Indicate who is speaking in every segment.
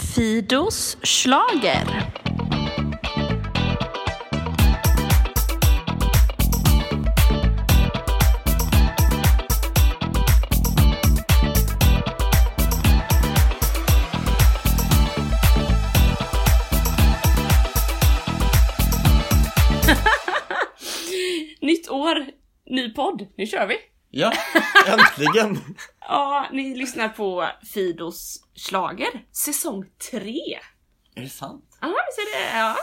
Speaker 1: Fidos schlager. Nytt år, ny podd. Nu kör vi!
Speaker 2: Ja, äntligen!
Speaker 1: Ja, ni lyssnar på Fidos slager säsong 3.
Speaker 2: är det sant?
Speaker 1: Ja, så det, ja,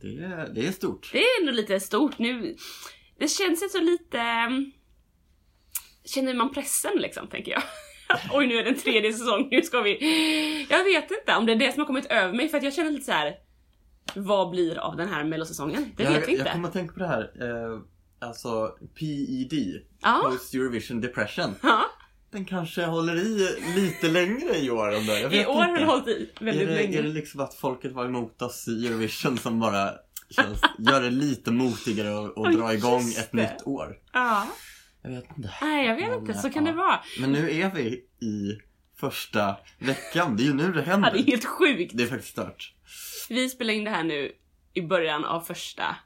Speaker 2: Det är, det är stort.
Speaker 1: det är ändå lite stort nu. Det känns så lite... mm, Känner man pressen liksom, tänker jag. Oj, nu är det en tredje säsong, nu ska vi... Jag vet inte om det är det som har kommit över mig, för att jag känner lite så här. Vad blir av den här mellosäsongen? Det
Speaker 2: jag,
Speaker 1: vet vi inte.
Speaker 2: Jag kommer att tänka på det här. Eh, alltså PED,
Speaker 1: Ja,
Speaker 2: Post Eurovision Depression.
Speaker 1: ja.
Speaker 2: Den kanske håller i lite längre i år om det. Jag
Speaker 1: I
Speaker 2: vet
Speaker 1: år har
Speaker 2: inte.
Speaker 1: det hållit i väldigt
Speaker 2: är det,
Speaker 1: länge.
Speaker 2: Är det liksom att folket var emot oss i Eurovision som bara känns, gör det lite motigare att att
Speaker 1: Oj,
Speaker 2: dra igång
Speaker 1: just
Speaker 2: ett
Speaker 1: det.
Speaker 2: nytt år?
Speaker 1: Ja.
Speaker 2: Jag vet inte.
Speaker 1: Nej, jag vet
Speaker 2: Men,
Speaker 1: inte, så
Speaker 2: ja.
Speaker 1: kan det vara.
Speaker 2: Men nu är vi i första veckan. Det är ju nu
Speaker 1: Ja,
Speaker 2: det
Speaker 1: det är
Speaker 2: händer.
Speaker 1: helt sjukt.
Speaker 2: Det är faktiskt stört.
Speaker 1: Vi spelar in det här nu i början av första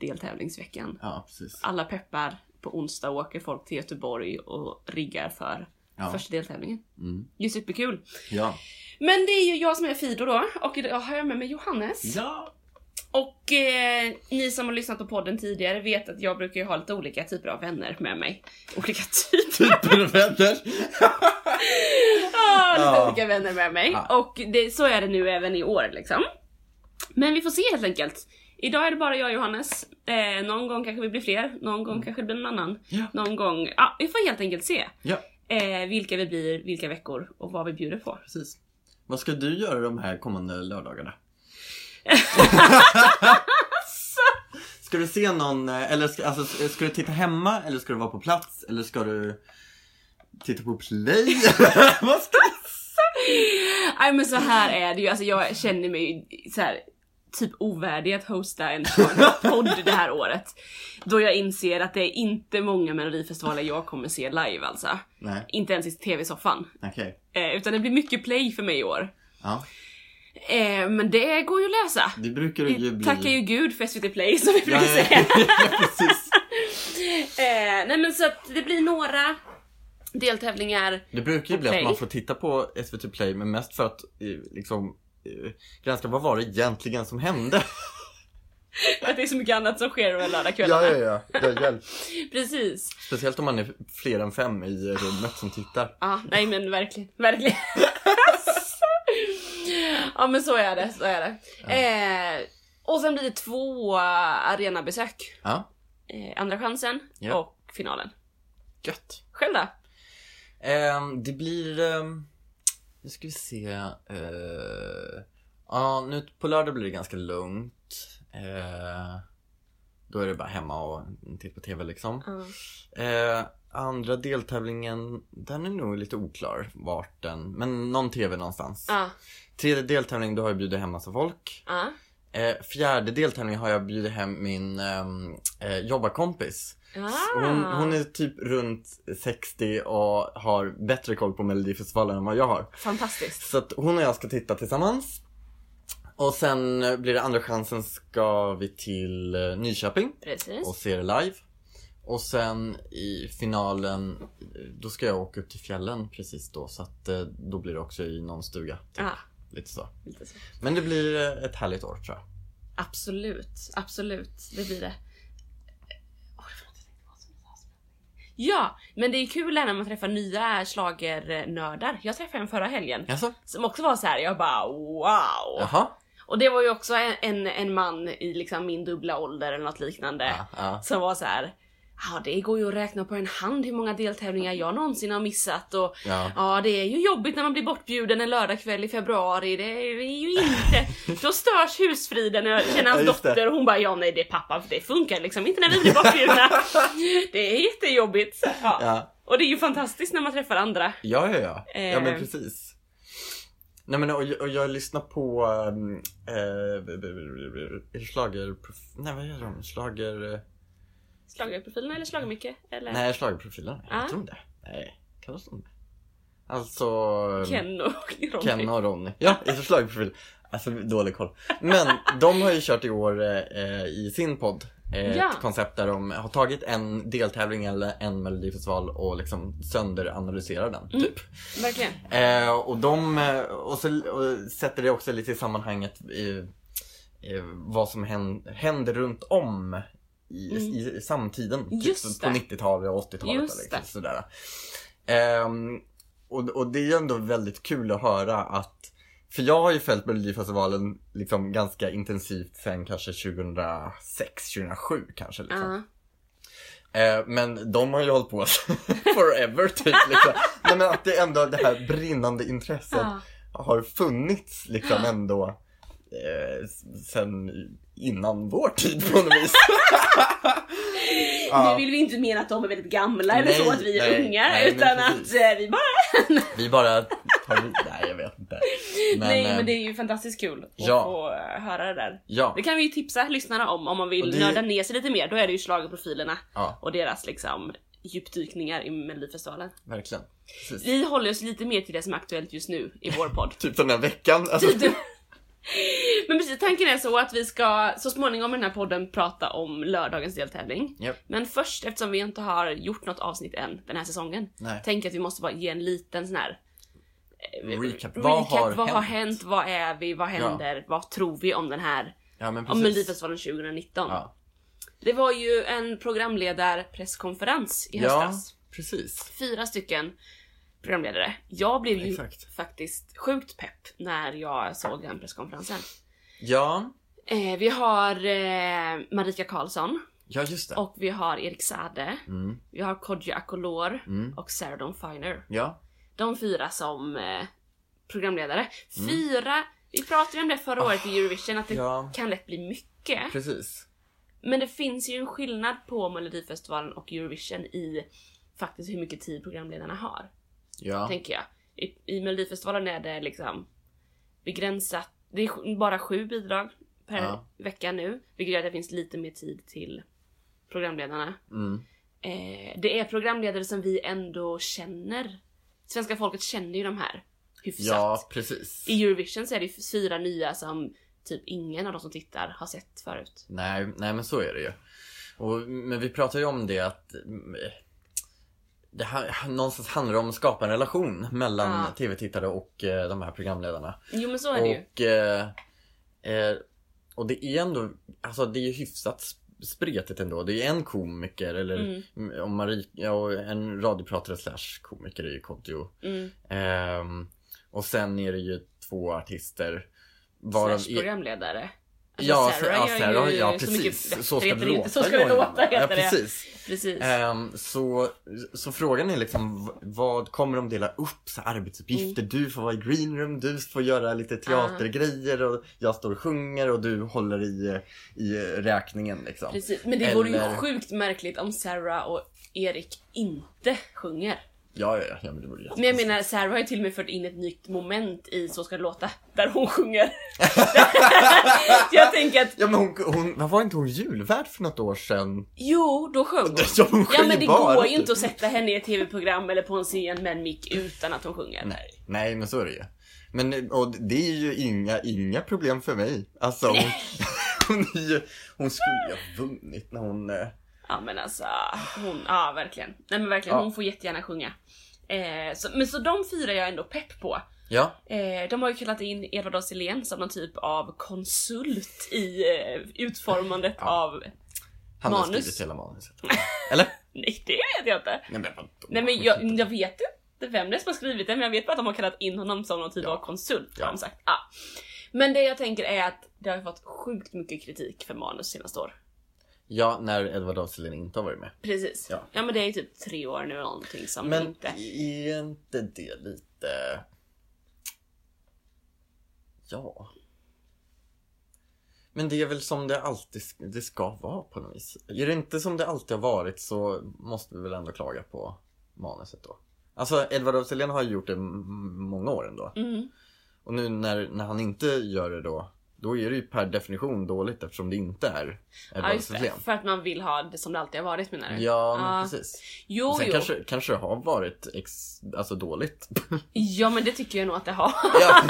Speaker 1: deltävlingsveckan.
Speaker 2: Ja, precis.
Speaker 1: Alla peppar. På onsdag åker folk till Göteborg och riggar för
Speaker 2: Ja.
Speaker 1: första deltävlingen.
Speaker 2: Mm.
Speaker 1: Det är superkul.
Speaker 2: Ja.
Speaker 1: Men det är ju jag som är Fido då och idag har jag med mig Johannes.
Speaker 2: ja.
Speaker 1: Och eh, ni som har lyssnat på podden tidigare vet att jag brukar ju ha lite olika typer av vänner med mig. Olika typer.
Speaker 2: Typ, Supervänner!
Speaker 1: Ah, lite
Speaker 2: Ja.
Speaker 1: olika vänner med mig.
Speaker 2: Ja.
Speaker 1: Och det, så är det nu även i år liksom. Men vi får se helt enkelt. Idag är det bara jag och Johannes. Eh, någon gång kanske vi blir fler, någon gång kanske det blir någon annan.
Speaker 2: Mm. Ja.
Speaker 1: Någon gång, ja vi får helt enkelt se.
Speaker 2: ja,
Speaker 1: Eh, vilka vi blir, vilka veckor och vad vi bjuder på.
Speaker 2: precis. Vad ska du göra de här kommande lördagarna? Ska du se någon, eh, eller ska, alltså, ska du titta hemma, eller ska du vara på plats, eller ska du titta på play? Vad ska
Speaker 1: Nej men så här är det ju, alltså jag känner mig ju så här typ ovärdig att hosta en sån podd det här året. Då jag inser att det är inte många melodifestivaler jag kommer se live alltså.
Speaker 2: Nej,
Speaker 1: Inte ens i tv-soffan.
Speaker 2: okej.
Speaker 1: Eh, utan det blir mycket play för mig i år.
Speaker 2: Ja,
Speaker 1: Eh, men det går ju att lösa.
Speaker 2: det brukar ju
Speaker 1: Vi
Speaker 2: bli...
Speaker 1: tackar ju gud för SVT Play som vi brukar
Speaker 2: ja, ja,
Speaker 1: säga.
Speaker 2: ja, precis.
Speaker 1: Eh, nej men så att det blir några deltävlingar.
Speaker 2: Det brukar ju bli
Speaker 1: Play.
Speaker 2: att man får titta på SVT Play, men mest för att eh, liksom eh, granska vad var det egentligen som hände?
Speaker 1: Att det är så mycket annat som sker de lördagskvällarna.
Speaker 2: ja, ja, hjälp.
Speaker 1: Precis.
Speaker 2: Speciellt om man är fler än fem i rummet som tittar.
Speaker 1: Ja, nej men verkligen, verkligen. ja men så är det, så är det. Eh, och sen blir det två arenabesök.
Speaker 2: Ja,
Speaker 1: Eh, andra chansen
Speaker 2: Ja.
Speaker 1: och finalen.
Speaker 2: gött.
Speaker 1: Själv då?
Speaker 2: Ehm, det blir... ehm, nu ska vi se. eh, Ja, nu på lördag blir det ganska lugnt. Eh, då är det bara hemma och titta på TV liksom. Eh, andra deltävlingen, den är nog lite oklar vart den, men någon TV någonstans.
Speaker 1: Ja,
Speaker 2: Tredje deltävlingen, då har jag bjudit hem massa folk.
Speaker 1: ja.
Speaker 2: Eh, fjärde deltävlingen har jag bjudit hem min ehm, eh, jobbarkompis.
Speaker 1: Ah.
Speaker 2: Hon, hon är typ runt 60 och har bättre koll på Melodifestivalen än vad jag har.
Speaker 1: Fantastiskt.
Speaker 2: Så att hon och jag ska titta tillsammans. Och sen eh, blir det andra chansen ska vi till eh, Nyköping
Speaker 1: Precis.
Speaker 2: och se det live. Och sen i finalen, eh, då ska jag åka upp till fjällen precis då. Så att eh, då blir det också i någon stuga. Typ.
Speaker 1: Ja,
Speaker 2: Lite så.
Speaker 1: lite så.
Speaker 2: Men det blir eh, ett härligt år tror jag.
Speaker 1: Absolut, absolut. Det blir det. Åh, det var något jag tänkte på som jag sa. Ja, men det är kul när man träffar nya schlagernördar. Jag träffade en förra helgen
Speaker 2: Jaså?
Speaker 1: som också var så här. jag bara wow.
Speaker 2: Jaha?
Speaker 1: Och det var ju också en, en, en man i liksom min dubbla ålder eller något liknande
Speaker 2: Ja, ja.
Speaker 1: som var så här. Ja, det går ju att räkna på en hand hur många deltävlingar jag någonsin har missat och
Speaker 2: Ja.
Speaker 1: Ja, det är ju jobbigt när man blir bortbjuden en lördagkväll i februari. Det är ju inte... Då störs husfriden. Jag känner hans
Speaker 2: Ja, just det.
Speaker 1: dotter och hon bara ja, nej, det är pappa. för Det funkar liksom inte när vi blir bortbjudna. det är jättejobbigt. Ja.
Speaker 2: Ja.
Speaker 1: Och det är ju fantastiskt när man träffar andra.
Speaker 2: Ja, ja, ja. Ja,
Speaker 1: Eh.
Speaker 2: men precis. Nej men och, jag- och jag lyssnar på ehm, eh, b- b- b- b- schlager... Nej vad heter de? Schlager... eh,
Speaker 1: Slagarprofilen eller slagarmycke? Eller?
Speaker 2: Nej, schlagerprofilen.
Speaker 1: Ah.
Speaker 2: Heter de det? Nej, kallas de det? Alltså...
Speaker 1: Ken och Ronny.
Speaker 2: Ken och Ronny. Ja, i förslagsprofil. Alltså dålig koll. Men de har ju kört i år eh, i sin podd eh,
Speaker 1: Ja.
Speaker 2: ett koncept där de har tagit en deltävling eller en melodifestival och liksom sönderanalyserar den.
Speaker 1: Mm.
Speaker 2: Typ.
Speaker 1: Verkligen.
Speaker 2: Eh, och de eh, och så, och sätter det också lite i sammanhanget eh, eh, vad som händer, händer runt om i,
Speaker 1: Mm.
Speaker 2: i, i samtiden. typ
Speaker 1: Just
Speaker 2: på
Speaker 1: det.
Speaker 2: 90-talet och 80-talet.
Speaker 1: Just
Speaker 2: liksom,
Speaker 1: det.
Speaker 2: sådär. Ehm, och, och det är ju ändå väldigt kul att höra att för jag har ju följt Melodifestivalen liksom ganska intensivt sen kanske 2006, 2007 kanske. Liksom.
Speaker 1: Ja.
Speaker 2: Eh, men de har ju hållit på forever typ. Liksom. Nej, men att det ändå det här brinnande intresset
Speaker 1: Ja.
Speaker 2: har funnits liksom ändå eh, s- sen innan vår tid på något vis.
Speaker 1: Nu vill vi inte mena att de är väldigt gamla eller
Speaker 2: Nej,
Speaker 1: så att vi är
Speaker 2: nej,
Speaker 1: unga
Speaker 2: nej, men
Speaker 1: utan att
Speaker 2: precis.
Speaker 1: eh, vi bara...
Speaker 2: Vi bara tar vid. Nej, jag vet inte. Men,
Speaker 1: nej
Speaker 2: eh,
Speaker 1: men det är ju fantastiskt kul att
Speaker 2: ja.
Speaker 1: få eh, höra det där.
Speaker 2: ja,
Speaker 1: Det kan vi ju tipsa lyssnarna om om man vill
Speaker 2: Och det-
Speaker 1: nörda ner sig lite mer. Då är det ju schlagerprofilerna
Speaker 2: ja,
Speaker 1: och deras liksom djupdykningar i Melodifestivalen.
Speaker 2: verkligen. Precis.
Speaker 1: Vi håller oss lite mer till det som är aktuellt just nu i vår podd.
Speaker 2: Typ den här veckan. Alltså,
Speaker 1: Du- Men precis, tanken är så att vi ska så småningom i den här podden prata om lördagens deltävling.
Speaker 2: Japp.
Speaker 1: Men först, eftersom vi inte har gjort något avsnitt än den här säsongen,
Speaker 2: Nej.
Speaker 1: tänker jag att vi måste bara ge en liten sån här eh,
Speaker 2: Recap. Vad har
Speaker 1: vad har
Speaker 2: hänt?
Speaker 1: hänt? Vad är vi? Vad händer? Vad tror vi om den här,
Speaker 2: Ja, men
Speaker 1: om
Speaker 2: precis.
Speaker 1: Melodifestivalen 2019?
Speaker 2: Ja,
Speaker 1: Det var ju en programledarpresskonferens i
Speaker 2: ja
Speaker 1: höstas
Speaker 2: precis.
Speaker 1: fyra stycken programledare. Jag blev ju
Speaker 2: Exakt.
Speaker 1: faktiskt sjukt pepp när jag såg den presskonferensen.
Speaker 2: Ja,
Speaker 1: Eh, vi har eh, Marika Karlsson
Speaker 2: ja just det.
Speaker 1: och vi har Erik Sade.
Speaker 2: Mm,
Speaker 1: Vi har Kodjo Akolor
Speaker 2: mm,
Speaker 1: och Sarah Dawn Finer.
Speaker 2: ja.
Speaker 1: De fyra som eh, programledare. Fyra! Vi pratade ju om det förra året i Eurovision att det
Speaker 2: Mm. Ah. Ja.
Speaker 1: kan lätt bli mycket.
Speaker 2: Precis.
Speaker 1: Men det finns ju en skillnad på Melodifestivalen och Eurovision i faktiskt hur mycket tid programledarna har.
Speaker 2: Ja.
Speaker 1: tänker jag. I, I Melodifestivalen är det liksom begränsat. Det är sj- bara sju bidrag per
Speaker 2: Ja.
Speaker 1: vecka nu, vilket gör att det finns lite mer tid till programledarna.
Speaker 2: Mm.
Speaker 1: Eh, det är programledare som vi ändå känner. Svenska folket känner ju de här hyfsat.
Speaker 2: Ja, precis.
Speaker 1: I Eurovision så är det ju fyra nya som typ ingen av de som tittar har sett förut.
Speaker 2: Nej, nej men så är det ju. Och, men vi pratar ju om det att mm, det här, någonstans handlar det om att skapa en relation mellan
Speaker 1: Ja.
Speaker 2: tv-tittare och eh, de här programledarna.
Speaker 1: Jo men så är det ju.
Speaker 2: Och, eh, eh, och det är ändå, alltså det är ju hyfsat sp- spretigt ändå. Det är en komiker eller mm. om Marie, ja, och en radiopratare slash komiker är ju Kodjo.
Speaker 1: Mm.
Speaker 2: Ehm, och sen är det ju två artister.
Speaker 1: Slash
Speaker 2: Varav
Speaker 1: programledare. Alltså,
Speaker 2: Ja,
Speaker 1: Sarah
Speaker 2: Sarah, ja,
Speaker 1: gör
Speaker 2: Sarah,
Speaker 1: ju
Speaker 2: ja
Speaker 1: Så,
Speaker 2: precis.
Speaker 1: mycket
Speaker 2: Så
Speaker 1: bättre
Speaker 2: ska det
Speaker 1: heter
Speaker 2: låta.
Speaker 1: inte, så ska det
Speaker 2: Jojje.
Speaker 1: låta heter
Speaker 2: ja,
Speaker 1: det.
Speaker 2: precis.
Speaker 1: Precis.
Speaker 2: Ehm, så, så frågan är liksom v- vad kommer de dela upp så här arbetsuppgifter?
Speaker 1: Mm.
Speaker 2: Du får vara i greenroom, du får göra
Speaker 1: Ah.
Speaker 2: lite teatergrejer och jag står och sjunger och du håller i, i räkningen liksom.
Speaker 1: Precis. Men det vore ju
Speaker 2: Eller-
Speaker 1: sjukt märkligt om Sarah och Erik inte sjunger.
Speaker 2: Ja, ja, ja, ja men det vore
Speaker 1: Men jag menar, Sarah har ju till och med fört in ett nytt moment i Så ska det låta, där hon sjunger. Så jag tänker att,
Speaker 2: Ja men hon, hon, vad var inte hon julvärd för något år sedan?
Speaker 1: jo, då sjöng hon.
Speaker 2: Ja, hon
Speaker 1: Ja men det går
Speaker 2: skivbar.
Speaker 1: ju inte att sätta henne i ett tv-program eller på en scen med en mick utan att hon sjunger.
Speaker 2: Nej, nej men så är det ju. Men och det är ju inga, inga problem för mig. Alltså hon, hon, är ju, hon skulle ju ha vunnit när hon... eh,
Speaker 1: Ja men alltså, hon, ja verkligen. Nej men verkligen,
Speaker 2: Ja.
Speaker 1: hon får jättegärna sjunga. Eh, så, men så de fyra är jag ändå pepp på.
Speaker 2: Ja,
Speaker 1: Eh, de har ju kallat in Edvard af Sillén som någon typ av konsult i eh, utformandet
Speaker 2: Ja.
Speaker 1: av...
Speaker 2: han har
Speaker 1: Manus.
Speaker 2: skrivit hela manuset. Eller?
Speaker 1: Nej det vet jag inte!
Speaker 2: Nej men vadå?
Speaker 1: Nej men
Speaker 2: typ.
Speaker 1: jag, jag vet inte vem det är som har skrivit det men jag vet bara att de har kallat in honom som någon typ
Speaker 2: Ja.
Speaker 1: av konsult.
Speaker 2: Ja.
Speaker 1: Har de sagt. Ah. Men det jag tänker är att det har ju fått sjukt mycket kritik för manus senaste år.
Speaker 2: Ja, när Edward af Sillén inte har varit med.
Speaker 1: Precis. Ja.
Speaker 2: Ja.
Speaker 1: men det är ju typ tre år nu eller någonting som
Speaker 2: Men
Speaker 1: inte...
Speaker 2: är inte det lite... Ja. Men det är väl som det alltid sk- det ska vara på något vis. Är det inte som det alltid har varit så måste vi väl ändå klaga på manuset då. Alltså Edward af Sillén har ju gjort det m- många år ändå.
Speaker 1: Mm.
Speaker 2: Och nu när, när han inte gör det då, då Då är det ju per definition dåligt eftersom det inte är ett
Speaker 1: Ja, just
Speaker 2: valsystem.
Speaker 1: det. För att man vill ha det som det alltid har varit menar du?
Speaker 2: Ja, men
Speaker 1: Ja.
Speaker 2: precis.
Speaker 1: Jo,
Speaker 2: Sen
Speaker 1: jo.
Speaker 2: kanske, kanske det har varit ex, alltså dåligt.
Speaker 1: Ja, men det tycker jag nog att det har.
Speaker 2: ja.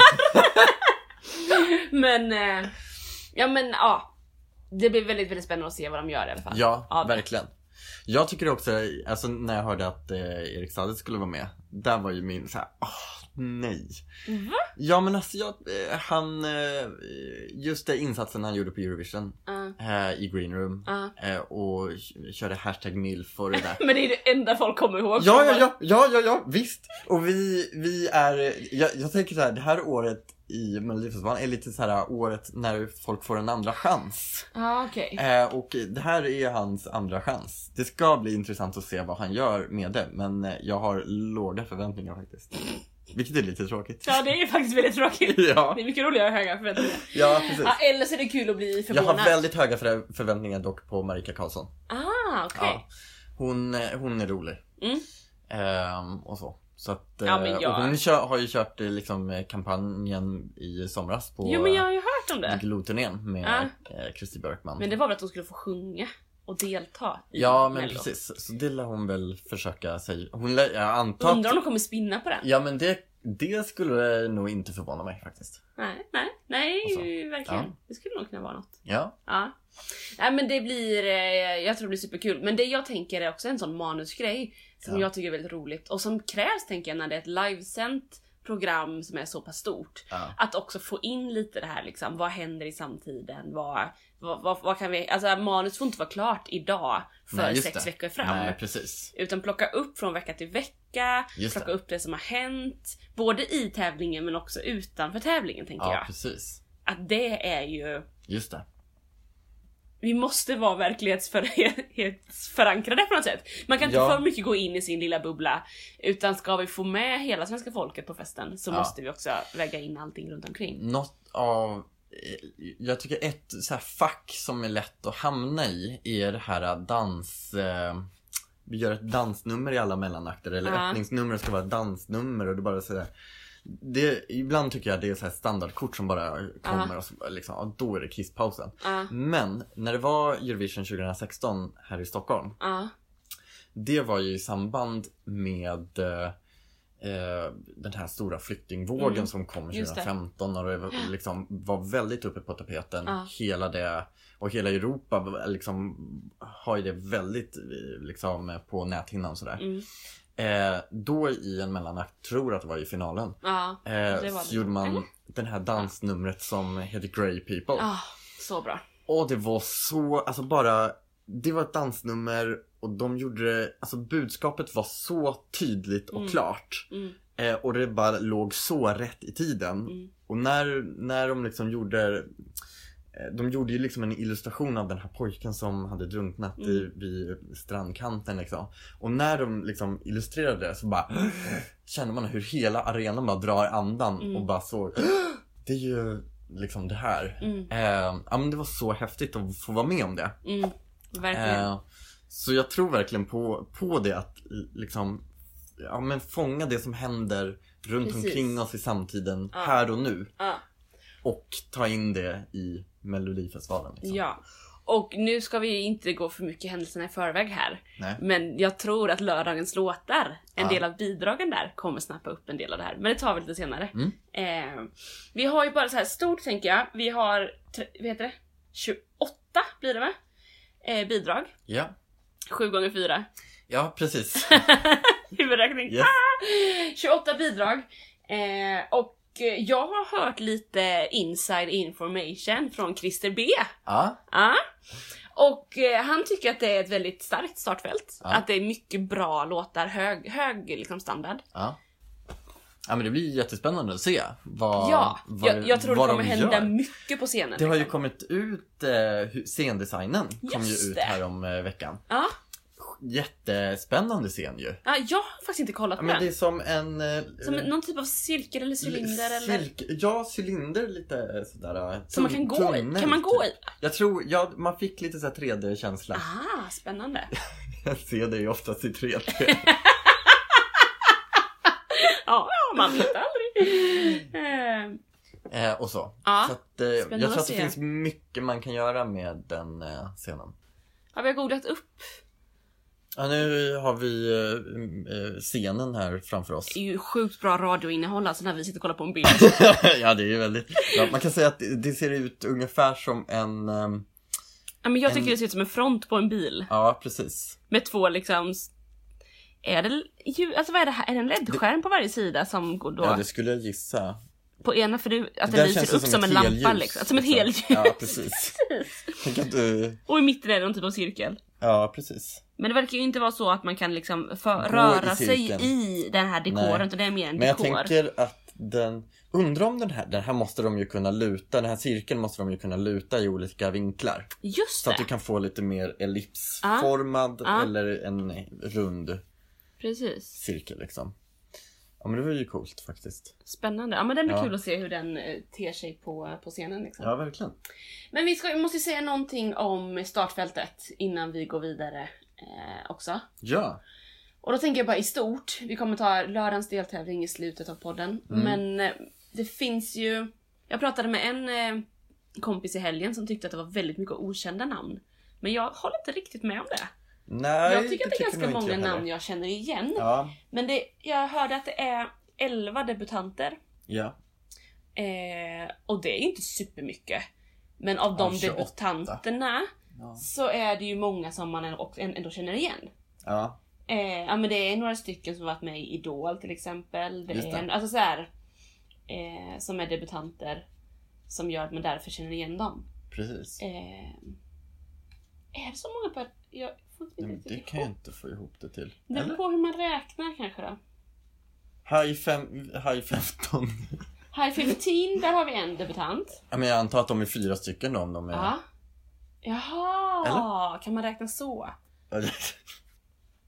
Speaker 1: Men, eh, ja men ja. Det blir väldigt, väldigt spännande att se vad de gör i alla fall.
Speaker 2: Ja,
Speaker 1: Ja.
Speaker 2: verkligen. Jag tycker också, alltså när jag hörde att eh, Erik Saade skulle vara med, där var ju min såhär, åh nej.
Speaker 1: Va?
Speaker 2: Ja men alltså jag, eh, han, eh, just det insatsen han gjorde på Eurovision
Speaker 1: Ja.
Speaker 2: eh, i Green Room
Speaker 1: Ja.
Speaker 2: eh, och k- körde hashtag milf och det där.
Speaker 1: Men det är det enda folk kommer ihåg.
Speaker 2: Ja, ja, ja, ja, ja, ja, visst. Och vi, vi är, jag, jag tänker så här, det här året i Melodifestivalen är lite så här året när folk får en andra chans.
Speaker 1: Ja, okej.
Speaker 2: Eh, och det här är hans andra chans. Det ska bli intressant att se vad han gör med det, men eh, jag har låga förväntningar faktiskt. Vilket är lite tråkigt.
Speaker 1: Ja, det är faktiskt väldigt tråkigt.
Speaker 2: ja,
Speaker 1: Det är mycket roligare att ha höga förväntningar.
Speaker 2: ja, precis.
Speaker 1: Ja, eller så är det kul att bli
Speaker 2: Jag
Speaker 1: Ah, förvånad.
Speaker 2: har väldigt höga förä- förväntningar dock på Marika Karlsson.
Speaker 1: Ah, okej.
Speaker 2: Ja. Hon, eh, hon är rolig.
Speaker 1: Mm.
Speaker 2: Ehm, och så. Så att, eh,
Speaker 1: Ja, men jag-
Speaker 2: och hon kör, har ju kört eh, liksom, eh, kampanjen i somras på
Speaker 1: Jo, men jag har ju hört om det.
Speaker 2: Glob-turnén med eh, Christer Björkman.
Speaker 1: Men det var väl att de skulle få sjunga och delta i
Speaker 2: Ja men
Speaker 1: Mello.
Speaker 2: precis, så det lär hon väl försöka säga. Hon lär, jag antar att-
Speaker 1: Undrar om de kommer spinna på den?
Speaker 2: Ja men det, det skulle nog inte förvåna mig faktiskt.
Speaker 1: Nej, nej, nej,
Speaker 2: Och så.
Speaker 1: verkligen.
Speaker 2: Alltså, Ja.
Speaker 1: Det skulle nog kunna vara något.
Speaker 2: Ja.
Speaker 1: Ja. Nej men det blir, eh, jag tror det blir superkul. Men det jag tänker är också en sån manusgrej som
Speaker 2: Ja.
Speaker 1: jag tycker är väldigt roligt och som krävs tänker jag när det är ett livesänt program som är så pass stort.
Speaker 2: Ja.
Speaker 1: Att också få in lite det här liksom, vad händer i samtiden? Vad, vad, vad, vad kan vi, alltså manus får inte vara klart idag för
Speaker 2: Nej, just
Speaker 1: sex
Speaker 2: det.
Speaker 1: veckor fram.
Speaker 2: Nej precis.
Speaker 1: Utan plocka upp från vecka till vecka,
Speaker 2: Just
Speaker 1: plocka
Speaker 2: det.
Speaker 1: upp det som har hänt. Både i tävlingen men också utanför tävlingen tänker
Speaker 2: Ja
Speaker 1: jag.
Speaker 2: precis.
Speaker 1: Att det är ju
Speaker 2: Just det.
Speaker 1: vi måste vara verklighetsförankrade på något sätt. Man kan inte
Speaker 2: Ja.
Speaker 1: för mycket gå in i sin lilla bubbla. Utan ska vi få med hela svenska folket på festen så
Speaker 2: Ja.
Speaker 1: måste vi också väga in allting runt omkring.
Speaker 2: Något av, eh, jag tycker ett så här fack som är lätt att hamna i är det här eh, dans... Eh, vi gör ett dansnummer i alla mellanakter eller
Speaker 1: Ja.
Speaker 2: öppningsnumret ska vara ett dansnummer och det bara sådär. Det, ibland tycker jag det är så här standardkort som bara kommer och så, liksom, och då är det kisspausen.
Speaker 1: Ja,
Speaker 2: Men när det var Eurovision 2016 här i Stockholm
Speaker 1: ja,
Speaker 2: Det var ju i samband med eh, eh, den här stora flyktingvågen
Speaker 1: Mm,
Speaker 2: som kom
Speaker 1: just det.
Speaker 2: 2015 och det var- liksom var väldigt uppe på tapeten.
Speaker 1: Ja.
Speaker 2: Hela det och hela Europa var- liksom, har ju det väldigt eh, liksom, på näthinnan sådär.
Speaker 1: mm,
Speaker 2: Eh, då i en mellanakt, tror att det var i finalen,
Speaker 1: ja.
Speaker 2: eh,
Speaker 1: Det var
Speaker 2: så
Speaker 1: det.
Speaker 2: gjorde man
Speaker 1: Eller?
Speaker 2: den här dansnumret som heter Grey People.
Speaker 1: Ah, så bra.
Speaker 2: Och det var så, alltså bara, det var ett dansnummer och de gjorde det, alltså budskapet var så tydligt och
Speaker 1: Mm.
Speaker 2: klart.
Speaker 1: Mm,
Speaker 2: Eh, och det bara låg så rätt i tiden.
Speaker 1: mm,
Speaker 2: Och när, när de liksom gjorde, eh, de gjorde ju liksom en illustration av den här pojken som hade drunknat
Speaker 1: Mm.
Speaker 2: i, vid strandkanten liksom. Och när de liksom illustrerade det så bara kände man hur hela arenan bara drar andan
Speaker 1: Mm.
Speaker 2: och bara så det är ju liksom det här.
Speaker 1: mm,
Speaker 2: Eh, ja men det var så häftigt att få vara med om det.
Speaker 1: mm. Verkligen.
Speaker 2: Eh, så jag tror verkligen på, på det att l- liksom ja, men fånga det som händer runt
Speaker 1: Precis.
Speaker 2: omkring oss i samtiden
Speaker 1: Ja.
Speaker 2: här och nu
Speaker 1: Ja.
Speaker 2: och ta in det i Melodifestivalen. Liksom.
Speaker 1: ja. Och nu ska vi ju inte gå för mycket händelserna i förväg här.
Speaker 2: Nej.
Speaker 1: Men jag tror att lördagens låtar, en
Speaker 2: Ja.
Speaker 1: del av bidragen där, kommer snappa upp en del av det här. Men det tar vi lite senare.
Speaker 2: Mm.
Speaker 1: Eh, vi har ju bara så här stort tänker jag. Vi har, tre- vad heter det? 28 blir det va? Eh, bidrag.
Speaker 2: Ja.
Speaker 1: 7 gånger 4
Speaker 2: ja, precis.
Speaker 1: Huvudräkning.
Speaker 2: Yes.
Speaker 1: Ah! 28 bidrag. Eh, och eh, jag har hört lite inside information från Christer B.
Speaker 2: ja.
Speaker 1: Ja. Och eh, han tycker att det är ett väldigt starkt startfält.
Speaker 2: Ja.
Speaker 1: Att det är mycket bra låtar, hög, hög liksom standard.
Speaker 2: ja. Ja men det blir ju jättespännande att se vad,
Speaker 1: ja,
Speaker 2: vad,
Speaker 1: jag, jag tror det
Speaker 2: vad
Speaker 1: kommer
Speaker 2: de
Speaker 1: hända
Speaker 2: gör.
Speaker 1: mycket på scenen.
Speaker 2: Det har ju
Speaker 1: liksom.
Speaker 2: kommit ut, eh, hu- scendesignen kom
Speaker 1: Just
Speaker 2: ju ut
Speaker 1: det.
Speaker 2: här om eh, veckan.
Speaker 1: ja.
Speaker 2: Jättespännande scen ju.
Speaker 1: ja, jag har faktiskt inte kollat
Speaker 2: Ja,
Speaker 1: på
Speaker 2: men
Speaker 1: den.
Speaker 2: det är som en... eh,
Speaker 1: Som någon typ av cirkel eller cylinder eller...
Speaker 2: cirk- Ja, cylinder lite sådär. eh,
Speaker 1: Som man kan gå i.
Speaker 2: tunnel,
Speaker 1: Kan man gå
Speaker 2: typ.
Speaker 1: i?
Speaker 2: Jag tror, ja, man fick lite så här 3D-känsla.
Speaker 1: Ah, spännande.
Speaker 2: Jag ser det ju oftast i 3D.
Speaker 1: Ja, man vet aldrig. Eh,
Speaker 2: Eh, och så.
Speaker 1: Ja,
Speaker 2: så att, eh, jag
Speaker 1: spännande
Speaker 2: tror att
Speaker 1: att
Speaker 2: det
Speaker 1: se.
Speaker 2: finns mycket man kan göra med den eh, scenen.
Speaker 1: Har vi googlat upp?
Speaker 2: Ja, nu har vi eh, eh, scenen här framför oss.
Speaker 1: Det är ju sjukt bra radioinnehåll alltså när vi sitter och kollar på en bild.
Speaker 2: ja, det är ju väldigt... Ja, man kan säga att det- det ser ut ungefär som en... ehm,
Speaker 1: Ja, men jag tycker
Speaker 2: En-
Speaker 1: det ser ut som en front på en bil.
Speaker 2: Ja, precis.
Speaker 1: Med två liksom... s- Är det ju, alltså vad är det här? Är det en LED-skärm på varje sida som går då?
Speaker 2: Ja, det skulle jag gissa.
Speaker 1: På ena för du, att
Speaker 2: Det
Speaker 1: den
Speaker 2: där känns
Speaker 1: lyser upp som, en
Speaker 2: ett
Speaker 1: lampa
Speaker 2: helljus,
Speaker 1: liksom. Som ett helljus.
Speaker 2: Ja, precis. Tänk att du...
Speaker 1: Och i mitten är det någon typ av cirkel.
Speaker 2: Ja, precis.
Speaker 1: Men det verkar ju inte vara så att man kan liksom för,
Speaker 2: Gå i
Speaker 1: röra sig
Speaker 2: cirkeln.
Speaker 1: i den här dekoren
Speaker 2: Nej.
Speaker 1: utan det är mer en
Speaker 2: Men jag
Speaker 1: dekor.
Speaker 2: tänker att den... Undrar om den här... Den här måste de ju kunna luta. Den här cirkeln måste de ju kunna luta i olika vinklar.
Speaker 1: Just
Speaker 2: Så
Speaker 1: det,
Speaker 2: att du kan få lite mer ellipsformad
Speaker 1: Ja. Ja.
Speaker 2: eller en rund
Speaker 1: precis.
Speaker 2: cirkel liksom. Ja men det var ju coolt faktiskt.
Speaker 1: Spännande. Ja men den blir
Speaker 2: Ja.
Speaker 1: kul att se hur den eh, ter sig på, på scenen liksom.
Speaker 2: Ja verkligen.
Speaker 1: Men vi, ska, vi måste ju säga någonting om startfältet innan vi går vidare eh, också.
Speaker 2: Ja.
Speaker 1: Och då tänker jag bara i stort. Vi kommer ta lördagens deltävling i slutet av podden.
Speaker 2: Mm.
Speaker 1: Men eh, det finns ju... Jag pratade med en eh, kompis i helgen som tyckte att det var väldigt mycket okända namn. Men jag håller inte riktigt med om det.
Speaker 2: Nej,
Speaker 1: jag tycker att det är ganska
Speaker 2: nog inte
Speaker 1: många
Speaker 2: jag
Speaker 1: namn
Speaker 2: heller.
Speaker 1: jag känner igen.
Speaker 2: Ja.
Speaker 1: Men det, jag hörde att det är 11 debutanter.
Speaker 2: Ja.
Speaker 1: Eh, och det är ju inte supermycket. Men av de
Speaker 2: 28.
Speaker 1: debutanterna
Speaker 2: Ja.
Speaker 1: så är det ju många som man ändå, ändå känner igen.
Speaker 2: Ja.
Speaker 1: Eh, ja men det är några stycken som varit med i Idol till exempel. Det
Speaker 2: Just det.
Speaker 1: är en, alltså så här, eh, som är debutanter som gör att man därför känner igen dem.
Speaker 2: Precis.
Speaker 1: Eh, är det så många per... Jag får inte
Speaker 2: Nej, men
Speaker 1: riktigt
Speaker 2: det
Speaker 1: ihop.
Speaker 2: kan jag inte få ihop det till.
Speaker 1: Det beror
Speaker 2: Eller?
Speaker 1: på hur man räknar kanske då.
Speaker 2: High, fem, high 15.
Speaker 1: High 15, där har vi en debutant.
Speaker 2: ja, men jag antar att de är fyra stycken då om de är...
Speaker 1: Ja. Jaha, kan man räkna så?
Speaker 2: Ja, det,